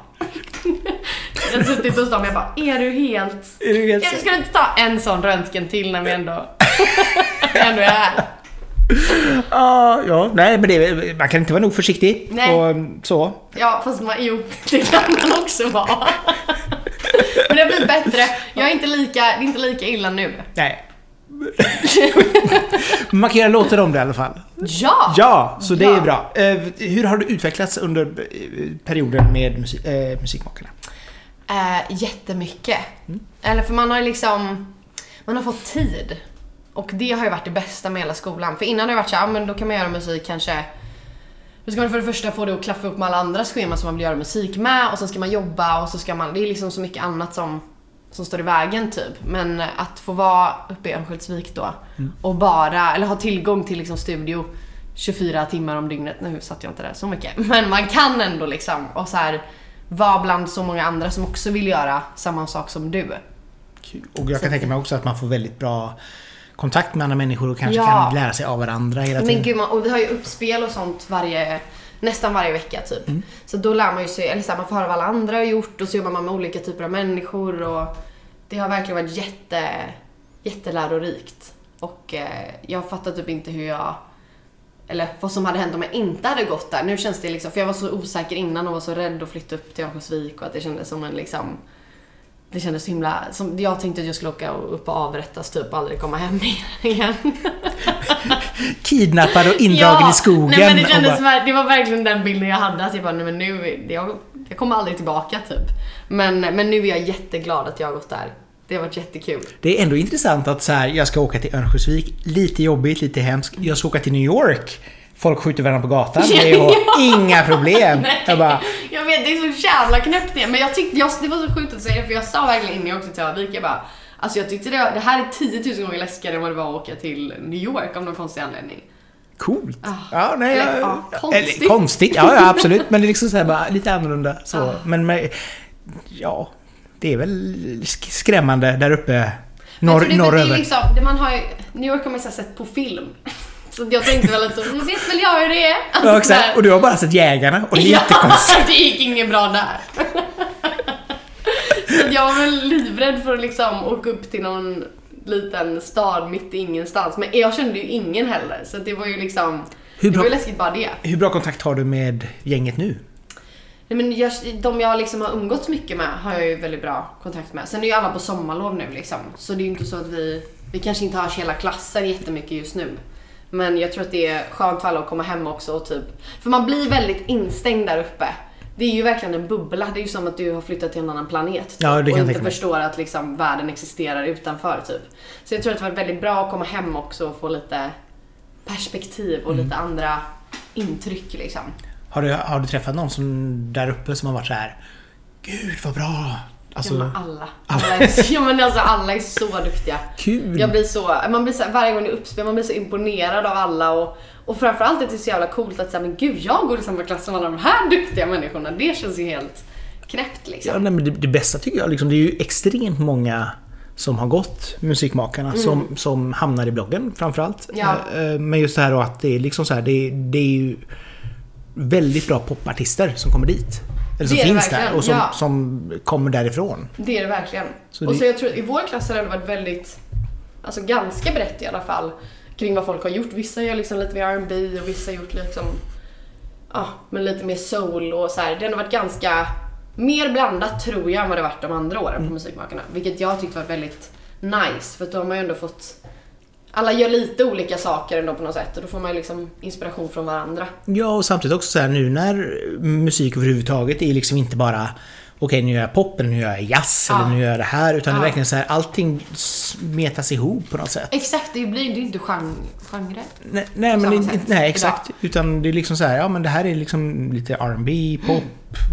Speaker 2: jag har suttit hos dem och jag bara, är du helt...
Speaker 1: Är det helt-
Speaker 2: Kanske ska du inte ta en sån röntgen till när vi ändå, ändå är här.
Speaker 1: Ja, ja. Nej, men det, man kan inte vara nog försiktig.
Speaker 2: Nej.
Speaker 1: Och mm, så.
Speaker 2: Ja, fast man, jo, det kan man också vara. Men det har blivit bättre. Jag är inte lika, det är inte lika illa nu.
Speaker 1: Nej. man kan göra låtar om det i alla fall.
Speaker 2: Ja!
Speaker 1: Ja, så det
Speaker 2: Ja.
Speaker 1: är bra. Eh, hur har du utvecklats under eh, perioden med musik, eh, Musikmakarna?
Speaker 2: Eh, jättemycket. Eller för man har ju liksom, man har fått tid. Och det har ju varit det bästa med hela skolan. För innan har det varit så här, ja, men då kan man göra musik kanske då ska man för det första få det att klaffa upp med alla andra scheman som man vill göra musik med och sen ska man jobba och så ska man, det är liksom så mycket annat som, som står i vägen typ. Men att få vara uppe i Örnsköldsvik då och bara, eller ha tillgång till liksom studio 24 timmar om dygnet. Nu satt jag inte där så mycket. Men man kan ändå liksom och så här vara bland så många andra som också vill göra samma sak som du.
Speaker 1: Kul. Och jag kan tänka mig också att man får väldigt bra kontakt med andra människor och kanske
Speaker 2: Ja.
Speaker 1: kan lära sig av varandra hela tiden.
Speaker 2: Men gud, man, och vi har ju uppspel och sånt varje, nästan varje vecka typ.
Speaker 1: Mm.
Speaker 2: Så då lär man ju sig, eller så här, man får höra vad alla andra har gjort och så jobbar man med olika typer av människor och det har verkligen varit jätte, jättelärorikt. Och eh, jag fattar typ inte hur jag, eller vad som hade hänt om jag inte hade gått där. Nu känns det liksom, för jag var så osäker innan och var så rädd att flytta upp till Örnsköldsvik och att det kändes som en liksom det kändes så himla... Som, jag tänkte att jag skulle åka upp och avrättas typ och aldrig komma hem igen.
Speaker 1: Kidnappad och indragen
Speaker 2: Ja,
Speaker 1: i skogen.
Speaker 2: Nej, men det,
Speaker 1: och
Speaker 2: kändes,
Speaker 1: bara-
Speaker 2: ver- det var verkligen den bilden jag hade. Att jag bara, nej, men nu, jag, jag kommer aldrig tillbaka typ. Men, men nu är jag jätteglad att jag har gått där. Det har varit jättekul.
Speaker 1: Det är ändå intressant att så här, jag ska åka till Örnsköldsvik, lite jobbigt, lite hemskt. Jag ska åka till New York. Folk skjuter varandra på gatan, det är inga problem.
Speaker 2: Nej,
Speaker 1: Jag bara,
Speaker 2: jag vet, det är så jävla knäppt det. Men jag tyckte, jag, det var så sjukt att säga det för jag sa verkligen innan jag åkte till Örnsköldsvik, jag bara Alltså jag tyckte det, var, det här är 10 000 gånger läskigare än vad det var att åka till New York av någon konstig anledning.
Speaker 1: coolt.
Speaker 2: Ah.
Speaker 1: Ja, nej,
Speaker 2: Eller,
Speaker 1: jag,
Speaker 2: ja, konstigt.
Speaker 1: Eller,
Speaker 2: Ah.
Speaker 1: konstigt, ja, ja absolut. Men det är liksom så här, bara, lite annorlunda. Så. Men med, ja, det är väl sk- skrämmande där uppe
Speaker 2: jag
Speaker 1: norr,
Speaker 2: tror det är för att det är
Speaker 1: norröver.
Speaker 2: liksom, det man har ju, New York har man ju så här sett på film. Så jag tänkte väl att, nu vet väl jag hur det är. Alltså,
Speaker 1: Ja, exakt.
Speaker 2: där.
Speaker 1: Och du har bara sett Jägarna och det är jättekonstigt.
Speaker 2: ja, det gick inget bra där. så att jag var väl livrädd för att liksom åka upp till någon liten stad mitt i ingenstans. Men jag kände ju ingen heller, så att det var ju liksom...
Speaker 1: Hur
Speaker 2: det
Speaker 1: bra-
Speaker 2: var ju läskigt bara det.
Speaker 1: Hur bra kontakt har du med gänget nu?
Speaker 2: Nej, men jag, de jag liksom har umgåtts mycket med har jag ju väldigt bra kontakt med. Sen är ju alla på sommarlov nu liksom. Så det är ju inte så att vi, vi kanske inte hörs hela klassen jättemycket just nu. Men jag tror att det är skönt för alla att komma hem också och typ, för man blir väldigt instängd där uppe. Det är ju verkligen en bubbla. Det är ju som att du har flyttat till en annan planet. Typ,
Speaker 1: Ja, det kan
Speaker 2: och
Speaker 1: jag
Speaker 2: inte
Speaker 1: tänka mig.
Speaker 2: förstår att liksom världen existerar utanför typ. Så jag tror att det var väldigt bra att komma hem också och få lite perspektiv och
Speaker 1: Mm.
Speaker 2: lite andra intryck liksom.
Speaker 1: Har du, har du träffat någon som, där uppe som har varit så här Gud vad bra!
Speaker 2: ja,
Speaker 1: Alltså,
Speaker 2: men alla. alla är, ja, men alltså, alla är så duktiga.
Speaker 1: kul!
Speaker 2: Jag blir så, man blir så här, varje gång det är uppspel, man blir så imponerad av alla och, och framförallt att det är så jävla coolt att säga men gud jag går i samma klass som alla de här duktiga människorna. Det känns ju helt knäppt liksom.
Speaker 1: Ja, nej, men det, det bästa tycker jag, liksom, det är ju extremt många som har gått Musikmakarna som, som hamnar i bloggen framförallt.
Speaker 2: Mm. Ja.
Speaker 1: Eh, eh, Men just det här då att det är liksom så här, det, det är ju väldigt bra popartister som kommer dit. Eller som
Speaker 2: Det är det
Speaker 1: finns där
Speaker 2: verkligen,
Speaker 1: och som,
Speaker 2: ja.
Speaker 1: som kommer därifrån.
Speaker 2: Det är det verkligen.
Speaker 1: Så
Speaker 2: och
Speaker 1: det-
Speaker 2: så jag tror att i vår klass har det varit väldigt, alltså ganska brett i alla fall, kring vad folk har gjort. Vissa gör liksom lite mer R&B och vissa har gjort liksom, ja, men lite mer soul och så här. Det har varit ganska, mer blandat tror jag än vad det varit de andra åren
Speaker 1: Mm.
Speaker 2: på Musikmakarna. Vilket jag tyckte var väldigt nice, för att då har man ju ändå fått alla gör lite olika saker ändå på något sätt och då får man ju liksom inspiration från varandra.
Speaker 1: Ja, och samtidigt också så här nu när musik överhuvudtaget är liksom inte bara Okej, nu gör jag pop, eller nu gör jag jazz,
Speaker 2: Ja.
Speaker 1: eller nu gör jag det här. Utan det
Speaker 2: Ja.
Speaker 1: är verkligen så här, allting smetas ihop på något sätt.
Speaker 2: Exakt, det blir ju inte genre.
Speaker 1: Nej, nej, men
Speaker 2: samma
Speaker 1: inte,
Speaker 2: sätt
Speaker 1: nej
Speaker 2: idag.
Speaker 1: exakt. Utan det är liksom så här, ja men det här är liksom lite R&B, pop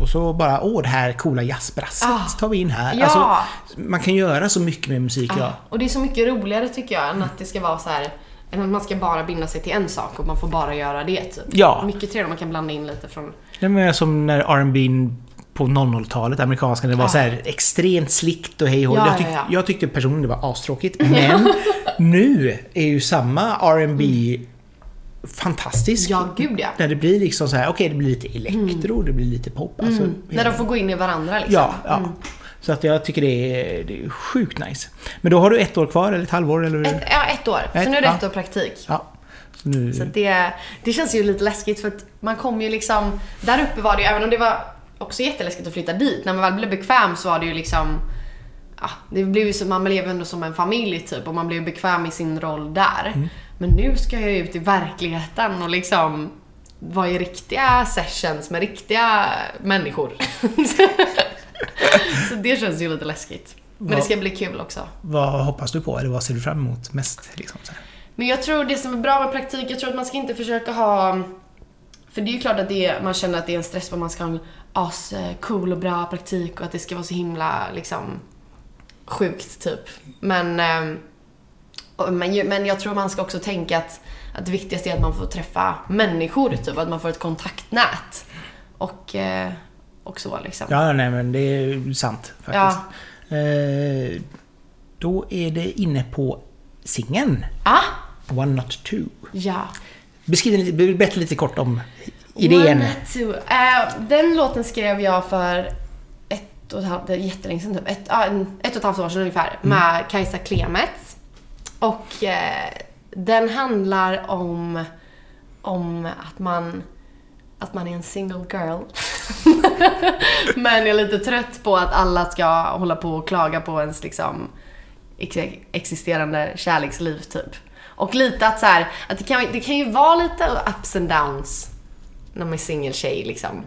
Speaker 1: och så bara, åh det här coola jazzbrasset
Speaker 2: Mm. Ah.
Speaker 1: tar vi in här.
Speaker 2: Ja. Ah.
Speaker 1: Alltså, man kan göra så mycket med musik
Speaker 2: Ja.
Speaker 1: idag.
Speaker 2: Och det är så mycket roligare tycker jag än att det ska vara så här än att man ska bara binda sig till en sak och man får bara göra det typ.
Speaker 1: Ja.
Speaker 2: Mycket trevligare om man kan blanda in lite från...
Speaker 1: Det var som när R&B på 00-talet, amerikanska, det var
Speaker 2: Ja.
Speaker 1: så här extremt slickt och hej och hå.
Speaker 2: Ah. Ja,
Speaker 1: jag, tyck,
Speaker 2: ja, ja.
Speaker 1: jag tyckte personligen det var astråkigt. Men nu är ju samma R&B fantastisk.
Speaker 2: Mm. Ja, gud ja. Mm.
Speaker 1: När det blir liksom så här, okej det blir lite elektro, det blir lite pop. Alltså,
Speaker 2: När de får gå in i varandra liksom.
Speaker 1: Ja, ja. Så att jag tycker det är, det är sjukt nice. Men då har du ett år kvar, eller ett halvår, eller?
Speaker 2: Ett, ja, ett år.
Speaker 1: Ett,
Speaker 2: så nu är det
Speaker 1: ja.
Speaker 2: ett år praktik.
Speaker 1: Ja. Så nu,
Speaker 2: Så att det, det känns ju lite läskigt för att man kom ju liksom... Där uppe var det ju, även om det var också jätteläskigt att flytta dit, när man väl blev bekväm så var det ju liksom... Ja, det blev ju som, man blev ändå som en familj typ och man blev bekväm i sin roll där. Men nu ska jag ju ut i verkligheten och liksom vara i riktiga sessions med riktiga människor. så det känns ju lite läskigt. Men det
Speaker 1: Ja.
Speaker 2: ska bli kul också.
Speaker 1: vad hoppas du på, eller vad ser du fram emot mest? Liksom, så här?
Speaker 2: Men jag tror det som är bra med praktik, jag tror att man ska inte försöka ha... För det är ju klart att det är, man känner att det är en stress på att man ska ha en ascool och bra praktik och att det ska vara så himla liksom sjukt typ. Men, eh, och- men, ju- men jag tror man ska också tänka att, att det viktigaste är att man får träffa människor typ, att man får ett kontaktnät. Och, eh, och så liksom.
Speaker 1: Ja, nej men det är sant faktiskt. Eh, då är det inne på singeln,
Speaker 2: Ah,
Speaker 1: One Not Two.
Speaker 2: ja.
Speaker 1: Beskriv lite, berätta lite kort om idén.
Speaker 2: One, two. Eh, den låten skrev jag för ett och ett halvt, det är jättelänge sedan typ. Ett, ja, en- ett och ett halvt år sedan ungefär. Med Kajsa Klemets. Och eh, den handlar om, om att man att man är en single girl. Men jag är lite trött på att alla ska hålla på och klaga på ens liksom ex- existerande kärleksliv typ. Och lite att så här, att det kan, det kan ju vara lite ups and downs när man är singeltjej liksom.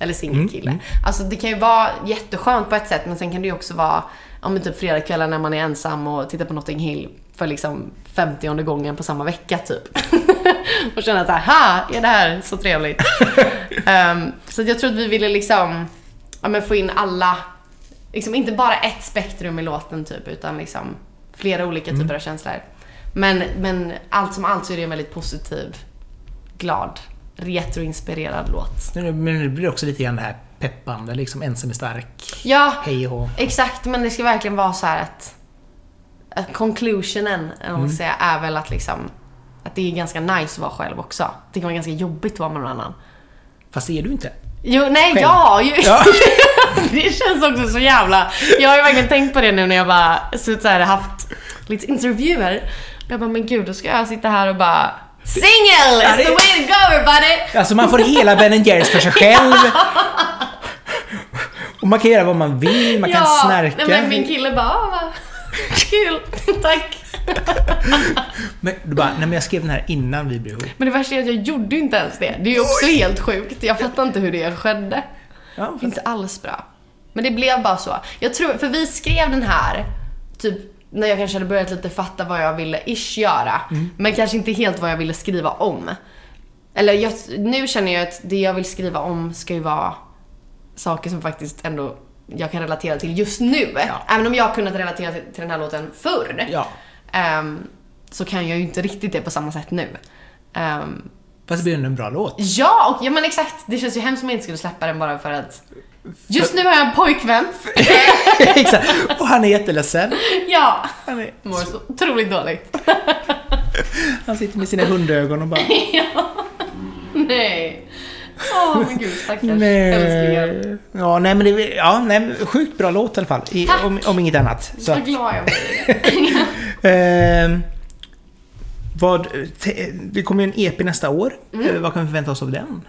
Speaker 2: Eller singelkille. Alltså det kan ju vara jätteskönt på ett sätt men sen kan det ju också vara ja, men typ fredagskvällar när man är ensam och tittar på Notting Hill för liksom femtionde gången på samma vecka typ. och känna såhär, ha, är det här så trevligt? Ehm, så att jag tror att vi ville liksom, ja men få in alla, liksom inte bara ett spektrum i låten typ utan liksom flera olika typer av känslor. Men, men allt som allt så är det en väldigt positiv, glad retroinspirerad låt.
Speaker 1: Men det blir också lite grann det här peppande, liksom ensam är stark,
Speaker 2: Ja,
Speaker 1: hej och hå.
Speaker 2: Exakt, men det ska verkligen vara så här att, att conclusionen, eller vad man ska säga, är väl att liksom att det är ganska nice att vara själv också. Det kan vara ganska jobbigt att vara med någon annan.
Speaker 1: Fast är du inte.
Speaker 2: Jo, nej,
Speaker 1: Själv?
Speaker 2: ja, ju,
Speaker 1: Ja.
Speaker 2: Det känns också så jävla... Jag har ju verkligen tänkt på det nu när jag bara så så här, haft lite intervjuer. Jag bara, men gud, då ska jag sitta här och bara Single
Speaker 1: Ja,
Speaker 2: is
Speaker 1: det-
Speaker 2: the way to go everybody!
Speaker 1: Alltså man får hela Ben Jerrys för sig själv. Och man kan göra vad man vill, man kan snarka.
Speaker 2: Nej, men min kille bara, "Ah, vad kul, tack.
Speaker 1: Men du bara, nej men jag skrev den här innan vi blev ihop.
Speaker 2: Men det värsta är att jag gjorde ju inte ens det. Det är ju också helt sjukt. Jag fattar inte hur det skedde.
Speaker 1: Ja, fast-
Speaker 2: Inte alls bra. Men det blev bara så. Jag tror, för vi skrev den här typ när jag kanske hade börjat lite fatta vad jag ville ish göra.
Speaker 1: Mm.
Speaker 2: Men kanske inte helt vad jag ville skriva om. Eller jag, nu känner jag att det jag vill skriva om ska ju vara saker som faktiskt ändå jag kan relatera till just nu.
Speaker 1: Ja.
Speaker 2: Även om jag kunnat relatera till, till den här låten förr.
Speaker 1: ja.
Speaker 2: ehm, så kan jag ju inte riktigt det på samma sätt nu. Ehm,
Speaker 1: Fast det blir ändå en bra låt.
Speaker 2: Ja, och, ja men exakt. Det känns ju hemskt om jag inte skulle släppa den bara för att Just nu har jag en pojkvän.
Speaker 1: Exakt. Och han är jätteledsen.
Speaker 2: Ja.
Speaker 1: Han, är,
Speaker 2: Mår så otroligt dåligt.
Speaker 1: han sitter med sina hundögon och bara
Speaker 2: Nej. Åh men gud stackars älsklingar.
Speaker 1: nej. Ja, nej men det, ja, nej, men sjukt bra låt i alla fall. I,
Speaker 2: Tack.
Speaker 1: om, om inget annat. Så
Speaker 2: Så
Speaker 1: att,
Speaker 2: glad jag blir.
Speaker 1: ehm, vad, te, det kommer ju en EP nästa år.
Speaker 2: Mm.
Speaker 1: Eh, vad kan vi förvänta oss av den?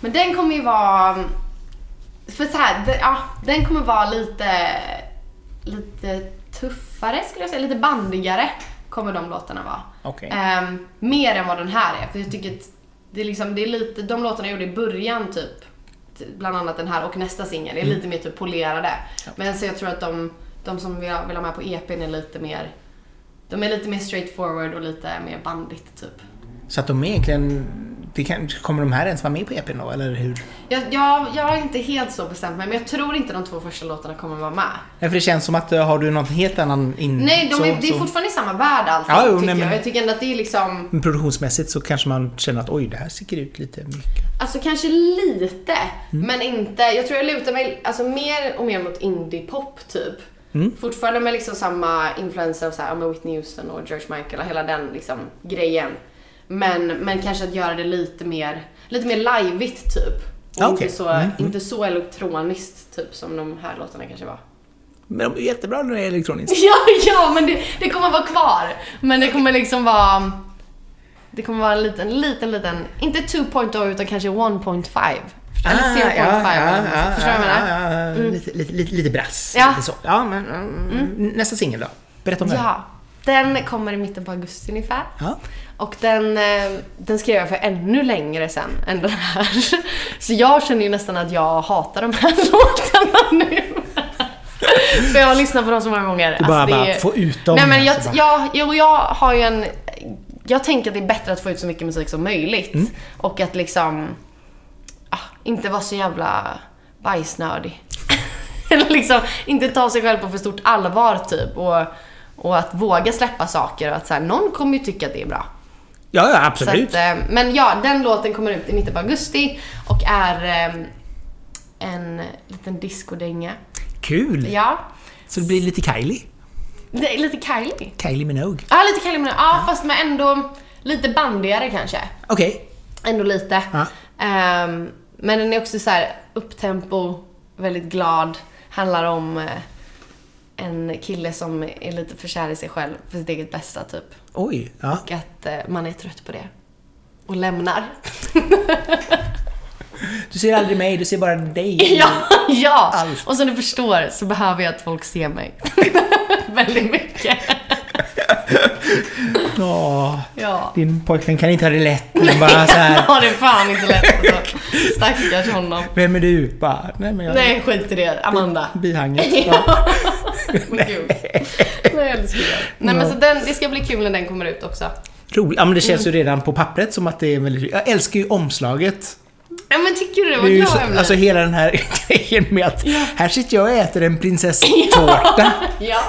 Speaker 2: Men den kommer ju vara... För så här, den, ja, den kommer vara lite, lite tuffare skulle jag säga. Lite bandigare kommer de låtarna vara.
Speaker 1: Okej.
Speaker 2: Ehm, mer än vad den här är. För jag tycker att det är liksom, det är lite, de låtarna jag gjorde i början typ, t- bland annat den här och nästa singel, är
Speaker 1: Mm.
Speaker 2: lite mer typ polerade. Men så jag tror att de, de som vill ha, vill ha med på EPn är lite mer, de är lite mer straightforward och lite mer bandigt typ.
Speaker 1: Så att de är egentligen... Det kan, kommer de här ens vara med på EPn då, eller hur?
Speaker 2: Jag, jag, jag har inte helt så bestämt mig, men jag tror inte de två första låtarna kommer vara med.
Speaker 1: Nej, för det känns som att eh, har du någon helt annan in...
Speaker 2: Nej, de
Speaker 1: Mm. så,
Speaker 2: är, det är
Speaker 1: så-
Speaker 2: fortfarande i samma värld allting,
Speaker 1: Ja, jo,
Speaker 2: tycker
Speaker 1: nej, men-
Speaker 2: jag. Jag tycker ändå att det är liksom,
Speaker 1: Men Produktionsmässigt så kanske man känner att oj, det här sticker ut lite mycket.
Speaker 2: alltså kanske lite,
Speaker 1: Mm.
Speaker 2: men inte. Jag tror jag lutar mig alltså, mer och mer mot indie-pop typ.
Speaker 1: Mm.
Speaker 2: Fortfarande med liksom samma influenser av så här, ja, men Whitney Houston och George Michael och hela den liksom, grejen. Men, men kanske att göra det lite mer, lite mer liveigt typ. Och
Speaker 1: Ja, okej.
Speaker 2: inte, så,
Speaker 1: Mm,
Speaker 2: inte så elektroniskt typ som de här låtarna kanske var.
Speaker 1: Men de är jättebra när det är elektroniskt.
Speaker 2: Ja, ja, men det, det kommer vara kvar. Men det kommer liksom vara... Det kommer vara en liten, liten, liten... Inte 2.0 utan kanske 1.5. Eller 0.5 eller vad man säger. Förstår du vad jag menar?
Speaker 1: Ah,
Speaker 2: Mm.
Speaker 1: ja, ja, lite, lite, lite, lite brass.
Speaker 2: Ja.
Speaker 1: Lite så. ja men, mm, Nästa singel då? Berätta om den.
Speaker 2: Ja. Den kommer i mitten på augusti ungefär.
Speaker 1: Ja.
Speaker 2: Och den, eh, den skrev jag för ännu längre sen än den här. Så jag känner ju nästan att jag hatar de här låtarna nu. För jag har lyssnat på dem så många gånger. Alltså,
Speaker 1: Du bara, bara få ut dem.
Speaker 2: Nej men jag,
Speaker 1: Så bara-
Speaker 2: jag, jag, jag har ju en... Jag tänker att det är bättre att få ut så mycket musik som möjligt.
Speaker 1: Mm.
Speaker 2: Och att liksom... Ah, inte vara så jävla bajsnördig. Eller liksom inte ta sig själv på för stort allvar typ. Och, och att våga släppa saker och att så här, någon kommer ju tycka att det är bra.
Speaker 1: ja, ja,
Speaker 2: Så
Speaker 1: absolut.
Speaker 2: att, eh, men ja, den låten kommer ut i mitten på augusti och är eh, en liten discodänga.
Speaker 1: Kul!
Speaker 2: Ja.
Speaker 1: Så det blir lite Kylie.
Speaker 2: Det är lite Kylie.
Speaker 1: Kylie Minogue.
Speaker 2: Ja, lite Kalle Minogue. Ja, fast med ändå lite bandigare kanske.
Speaker 1: Okej.
Speaker 2: Ändå lite.
Speaker 1: Ja.
Speaker 2: Ehm, men den är också så här upptempo, väldigt glad. Handlar om eh, en kille som är lite för kär i sig själv för sitt eget bästa typ.
Speaker 1: Oj. Ja.
Speaker 2: Och att eh, man är trött på det. Och lämnar.
Speaker 1: Du ser aldrig mig, du ser bara dig.
Speaker 2: ja, ja!
Speaker 1: Allt.
Speaker 2: Och som du förstår så behöver jag att folk ser mig. väldigt mycket.
Speaker 1: Åh,
Speaker 2: Ja.
Speaker 1: din pojkvän kan inte ha det lätt. Han bara så här,
Speaker 2: Ja, det är fan inte lätt alltså. Stackars honom.
Speaker 1: Vem är du? Bara, nej men jag
Speaker 2: Nej, skit i det. Amanda.
Speaker 1: bihanget. Ja.
Speaker 2: Men gud. Nej, älskling. Nej, men så den, det ska bli kul när den kommer ut också.
Speaker 1: Roligt. Ja men det känns ju redan på pappret som att det är väldigt... Jag älskar ju omslaget.
Speaker 2: Ja, men tycker du det?
Speaker 1: Det
Speaker 2: Vad
Speaker 1: är ju
Speaker 2: glad
Speaker 1: så,
Speaker 2: jag blir.
Speaker 1: alltså hela den här grejen med att här sitter jag och äter en prinsesstårta.
Speaker 2: Ja.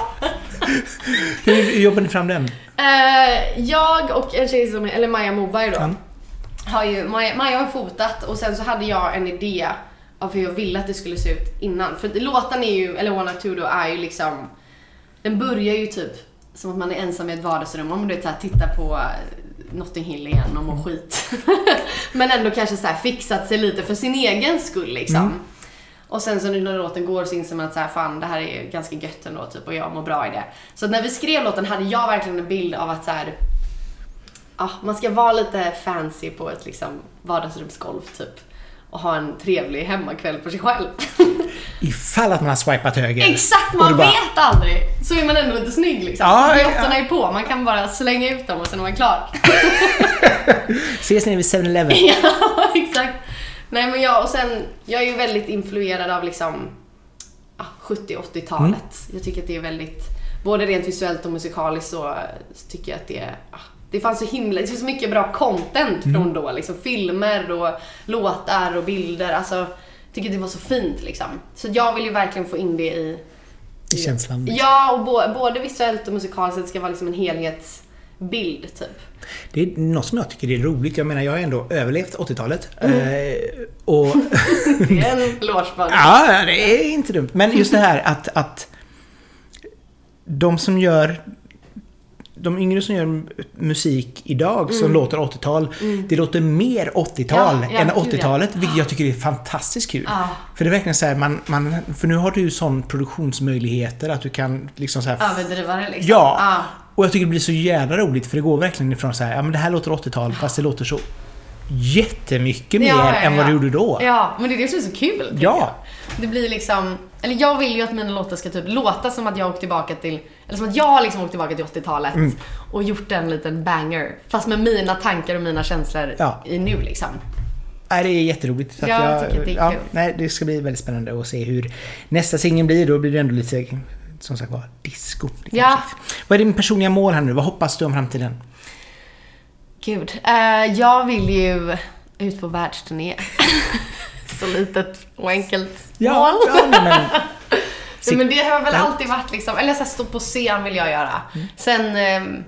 Speaker 1: Hur jobbar ni fram den?
Speaker 2: Eh, jag och en tjej som, eller Maja Moberg då. har ju, Maja, Maja har fotat och sen så hade jag en idé av hur jag ville att det skulle se ut innan. För att låten är ju, eller One Night Two då, är ju liksom, den börjar ju typ som att man är ensam i ett vardagsrum. Om du vet, så här, tittar på eh, Notting Hill igen och mår skit. Men ändå kanske så här fixat sig lite för sin egen skull liksom. Och sen så nu när låten går så inser man att så här, fan det här är ju ganska gött ändå typ och jag mår bra i det. Så att när vi skrev låten hade jag verkligen en bild av att så här, ja, man ska vara lite fancy på ett liksom, vardagsrumsgolv typ. Och ha en trevlig hemmakväll för sig själv.
Speaker 1: Ifall att man har swipat höger.
Speaker 2: Exakt,
Speaker 1: Och
Speaker 2: man
Speaker 1: du bara,
Speaker 2: vet aldrig! Så är man ändå inte snygg liksom.
Speaker 1: Ja,
Speaker 2: Jottarna är på, man kan bara slänga ut dem och sen är man klar.
Speaker 1: Ses ni vid 7-Eleven?
Speaker 2: ja, exakt. Nej men jag, och sen, jag är ju väldigt influerad av liksom ah, 70-80-talet. Jag tycker att det är väldigt, både rent visuellt och musikaliskt så, så tycker jag att det är ah, det fanns så himla, det finns så mycket bra content från då liksom. Filmer och låtar och bilder. Alltså, jag tycker att det var så fint liksom. Så jag vill ju verkligen få in det i
Speaker 1: I känslan.
Speaker 2: Ja, och bo- både visuellt och musikaliskt det ska vara liksom en helhetsbild typ.
Speaker 1: Det är något som jag tycker är roligt. Jag menar, jag har ändå överlevt 80-talet.
Speaker 2: Mm.
Speaker 1: Eh, och
Speaker 2: Det är en lårsband.
Speaker 1: Ja, det är inte dumt. Men just det här att, att de som gör de yngre som gör musik idag som låter 80-tal, det låter mer 80-tal
Speaker 2: Mm. Ja, ja,
Speaker 1: än
Speaker 2: gud, ja.
Speaker 1: 80-talet, vilket jag tycker är fantastiskt kul.
Speaker 2: Ja.
Speaker 1: För det är verkligen så här, man, man, för nu har du ju sån produktionsmöjligheter att du kan liksom så här,
Speaker 2: Överdrivare liksom.
Speaker 1: Ja!
Speaker 2: Ah.
Speaker 1: Och jag tycker det blir så jävla roligt för det går verkligen ifrån så här, ja men det här låter 80-tal fast det låter så jättemycket mer
Speaker 2: Ja, ja,
Speaker 1: än vad
Speaker 2: ja.
Speaker 1: det gjorde då.
Speaker 2: Ja, men det är det som är så kul. tycker
Speaker 1: Ja.
Speaker 2: jag. Det blir liksom, eller jag vill ju att mina låtar ska typ låta som att jag åkt tillbaka till, eller som att jag har liksom åkt tillbaka till 80-talet
Speaker 1: Mm.
Speaker 2: och gjort en liten banger. Fast med mina tankar och mina känslor
Speaker 1: Ja.
Speaker 2: i nu liksom.
Speaker 1: Nej, det är jätteroligt. Så att
Speaker 2: Ja, jag tycker det är
Speaker 1: ja,
Speaker 2: kul.
Speaker 1: Nej, det ska bli väldigt spännande att se hur nästa singel blir. Då blir det ändå lite, som sagt var, disco. Det kan
Speaker 2: Ja.
Speaker 1: vara fint. Vad är din personliga mål här nu? Vad hoppas du om framtiden?
Speaker 2: Gud. Eh, jag vill ju ut på världsturné. så litet och enkelt mål.
Speaker 1: ja men,
Speaker 2: Ja, men det har väl
Speaker 1: Ja. Mm.
Speaker 2: alltid varit liksom, eller så här, stå på scen vill jag göra. Sen, eh,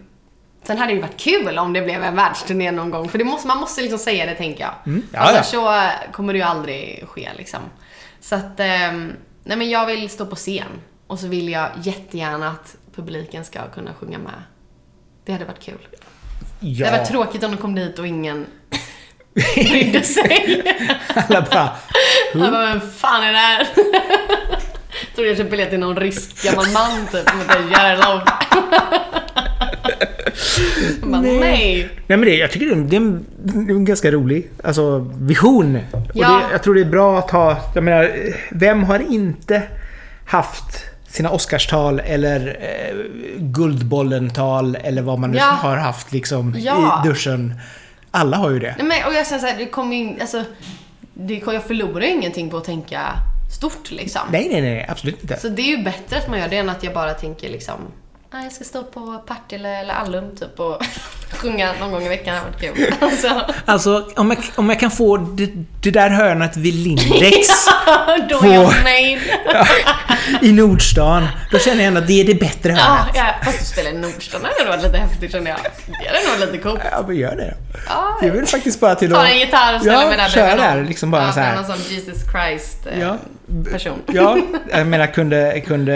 Speaker 2: sen hade det ju varit kul om det blev en världsturné någon gång. För det måste, man måste liksom säga det tänker jag.
Speaker 1: Mm. Ja,
Speaker 2: Annars
Speaker 1: ja.
Speaker 2: så eh, kommer det ju aldrig ske liksom. Så att, eh, nej men jag vill stå på scen. Och så vill jag jättegärna att publiken ska kunna sjunga med. Det hade varit kul.
Speaker 1: ja.
Speaker 2: Det hade varit tråkigt om de kom dit och ingen brydde sig.
Speaker 1: Alla bara,
Speaker 2: Han bara, vem fan är det här? Tror jag köpte biljett till någon rysk gammal man typ, som heter Jarlov. Jag bara, nej.
Speaker 1: Nej men det, jag tycker det är, en- det är en, det är en ganska rolig alltså, vision. Och
Speaker 2: Ja.
Speaker 1: det, jag tror det är bra att ha, jag menar, vem har inte haft sina Oscarstal eller eh, Guldbollental eller vad man nu
Speaker 2: Ja.
Speaker 1: har haft liksom
Speaker 2: Ja.
Speaker 1: i duschen. Alla har ju det.
Speaker 2: nej men, och jag känner såhär, det kommer ju in- alltså, det, jag förlorar ju ingenting på att tänka stort liksom.
Speaker 1: Nej, nej, nej, absolut inte.
Speaker 2: Så det är ju bättre att man gör det än att jag bara tänker liksom, ah, jag ska stå på Partille eller Allum typ och sjunga någon gång i veckan, det har varit kul. Alltså,
Speaker 1: Alltså, om jag, om jag kan få det, det där hörnet vid Lindex
Speaker 2: då är jag
Speaker 1: Får-
Speaker 2: nöjd.
Speaker 1: i Nordstan, då känner jag ändå att det är det bättre
Speaker 2: Ja,
Speaker 1: hörnet.
Speaker 2: ja, fast du spelar i Nordstan, det hade nog varit lite häftigt kände jag. Det hade nog varit lite coolt.
Speaker 1: Ja, men gör det då.
Speaker 2: Ja,
Speaker 1: Det är väl faktiskt bara till
Speaker 2: ta en gitarr och ställa
Speaker 1: Ja,
Speaker 2: mig där
Speaker 1: kör
Speaker 2: bredvid
Speaker 1: där,
Speaker 2: någon.
Speaker 1: liksom bara
Speaker 2: ja,
Speaker 1: så här.
Speaker 2: Någon sån Jesus Christ eh,
Speaker 1: Ja.
Speaker 2: person.
Speaker 1: Ja, jag menar kunde, kunde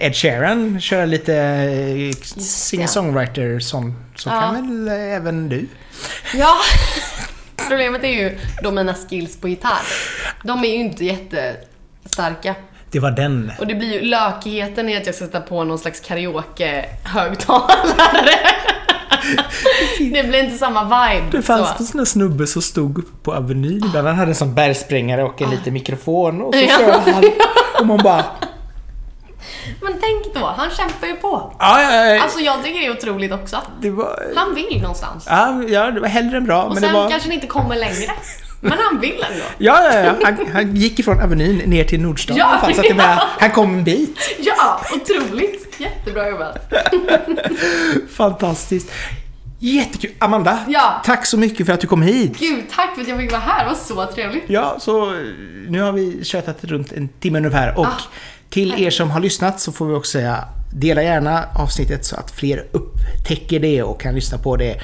Speaker 1: Ed Sheeran köra lite eh, singer-songwriter som, så
Speaker 2: Ja.
Speaker 1: kan väl eh, även du?
Speaker 2: Ja. Problemet är ju då mina skills på gitarr. De är ju inte jättestarka.
Speaker 1: Det var den.
Speaker 2: Och det blir ju lökigheten i att jag ska sätta på någon slags karaoke-högtalare. Det blir inte samma vibe.
Speaker 1: Det fanns
Speaker 2: så.
Speaker 1: en sån där snubbe som stod på Avenyn ibland. Han hade en sån bergsprängare och en liten mikrofon och så
Speaker 2: Ah. Ja.
Speaker 1: körde han. Och man bara...
Speaker 2: Men tänk då, han kämpar ju på.
Speaker 1: Ja, ja, ja.
Speaker 2: Alltså jag tycker det är otroligt också.
Speaker 1: Det var...
Speaker 2: Han vill någonstans.
Speaker 1: Ja, ja, det var hellre än bra.
Speaker 2: Och
Speaker 1: Men det
Speaker 2: sen
Speaker 1: var...
Speaker 2: kanske det inte kommer längre. Men han vill ändå.
Speaker 1: Ja, ja, ja. Han, han gick ifrån Avenyn ner till Nordstan.
Speaker 2: Ja,
Speaker 1: Ja, fast att det
Speaker 2: ja.
Speaker 1: med, han kom en bit.
Speaker 2: Ja, otroligt. Jättebra jobbat.
Speaker 1: Fantastiskt. Jättekul. Amanda,
Speaker 2: Ja.
Speaker 1: tack så mycket för att du kom hit.
Speaker 2: Gud, tack för att jag fick vara här. Det var så trevligt.
Speaker 1: Ja, så eh, nu har vi tjötat runt en timme ungefär och
Speaker 2: Ah.
Speaker 1: till er som har lyssnat så får vi också säga dela gärna avsnittet så att fler upptäcker det och kan lyssna på det.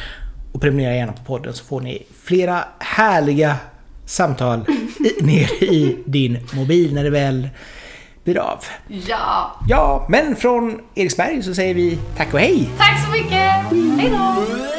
Speaker 1: Och prenumerera gärna på podden så får ni flera härliga samtal i, ner i din mobil när det väl blir av.
Speaker 2: Ja!
Speaker 1: Ja, men från Eriksberg så säger vi tack och hej!
Speaker 2: Tack så mycket! Hej då!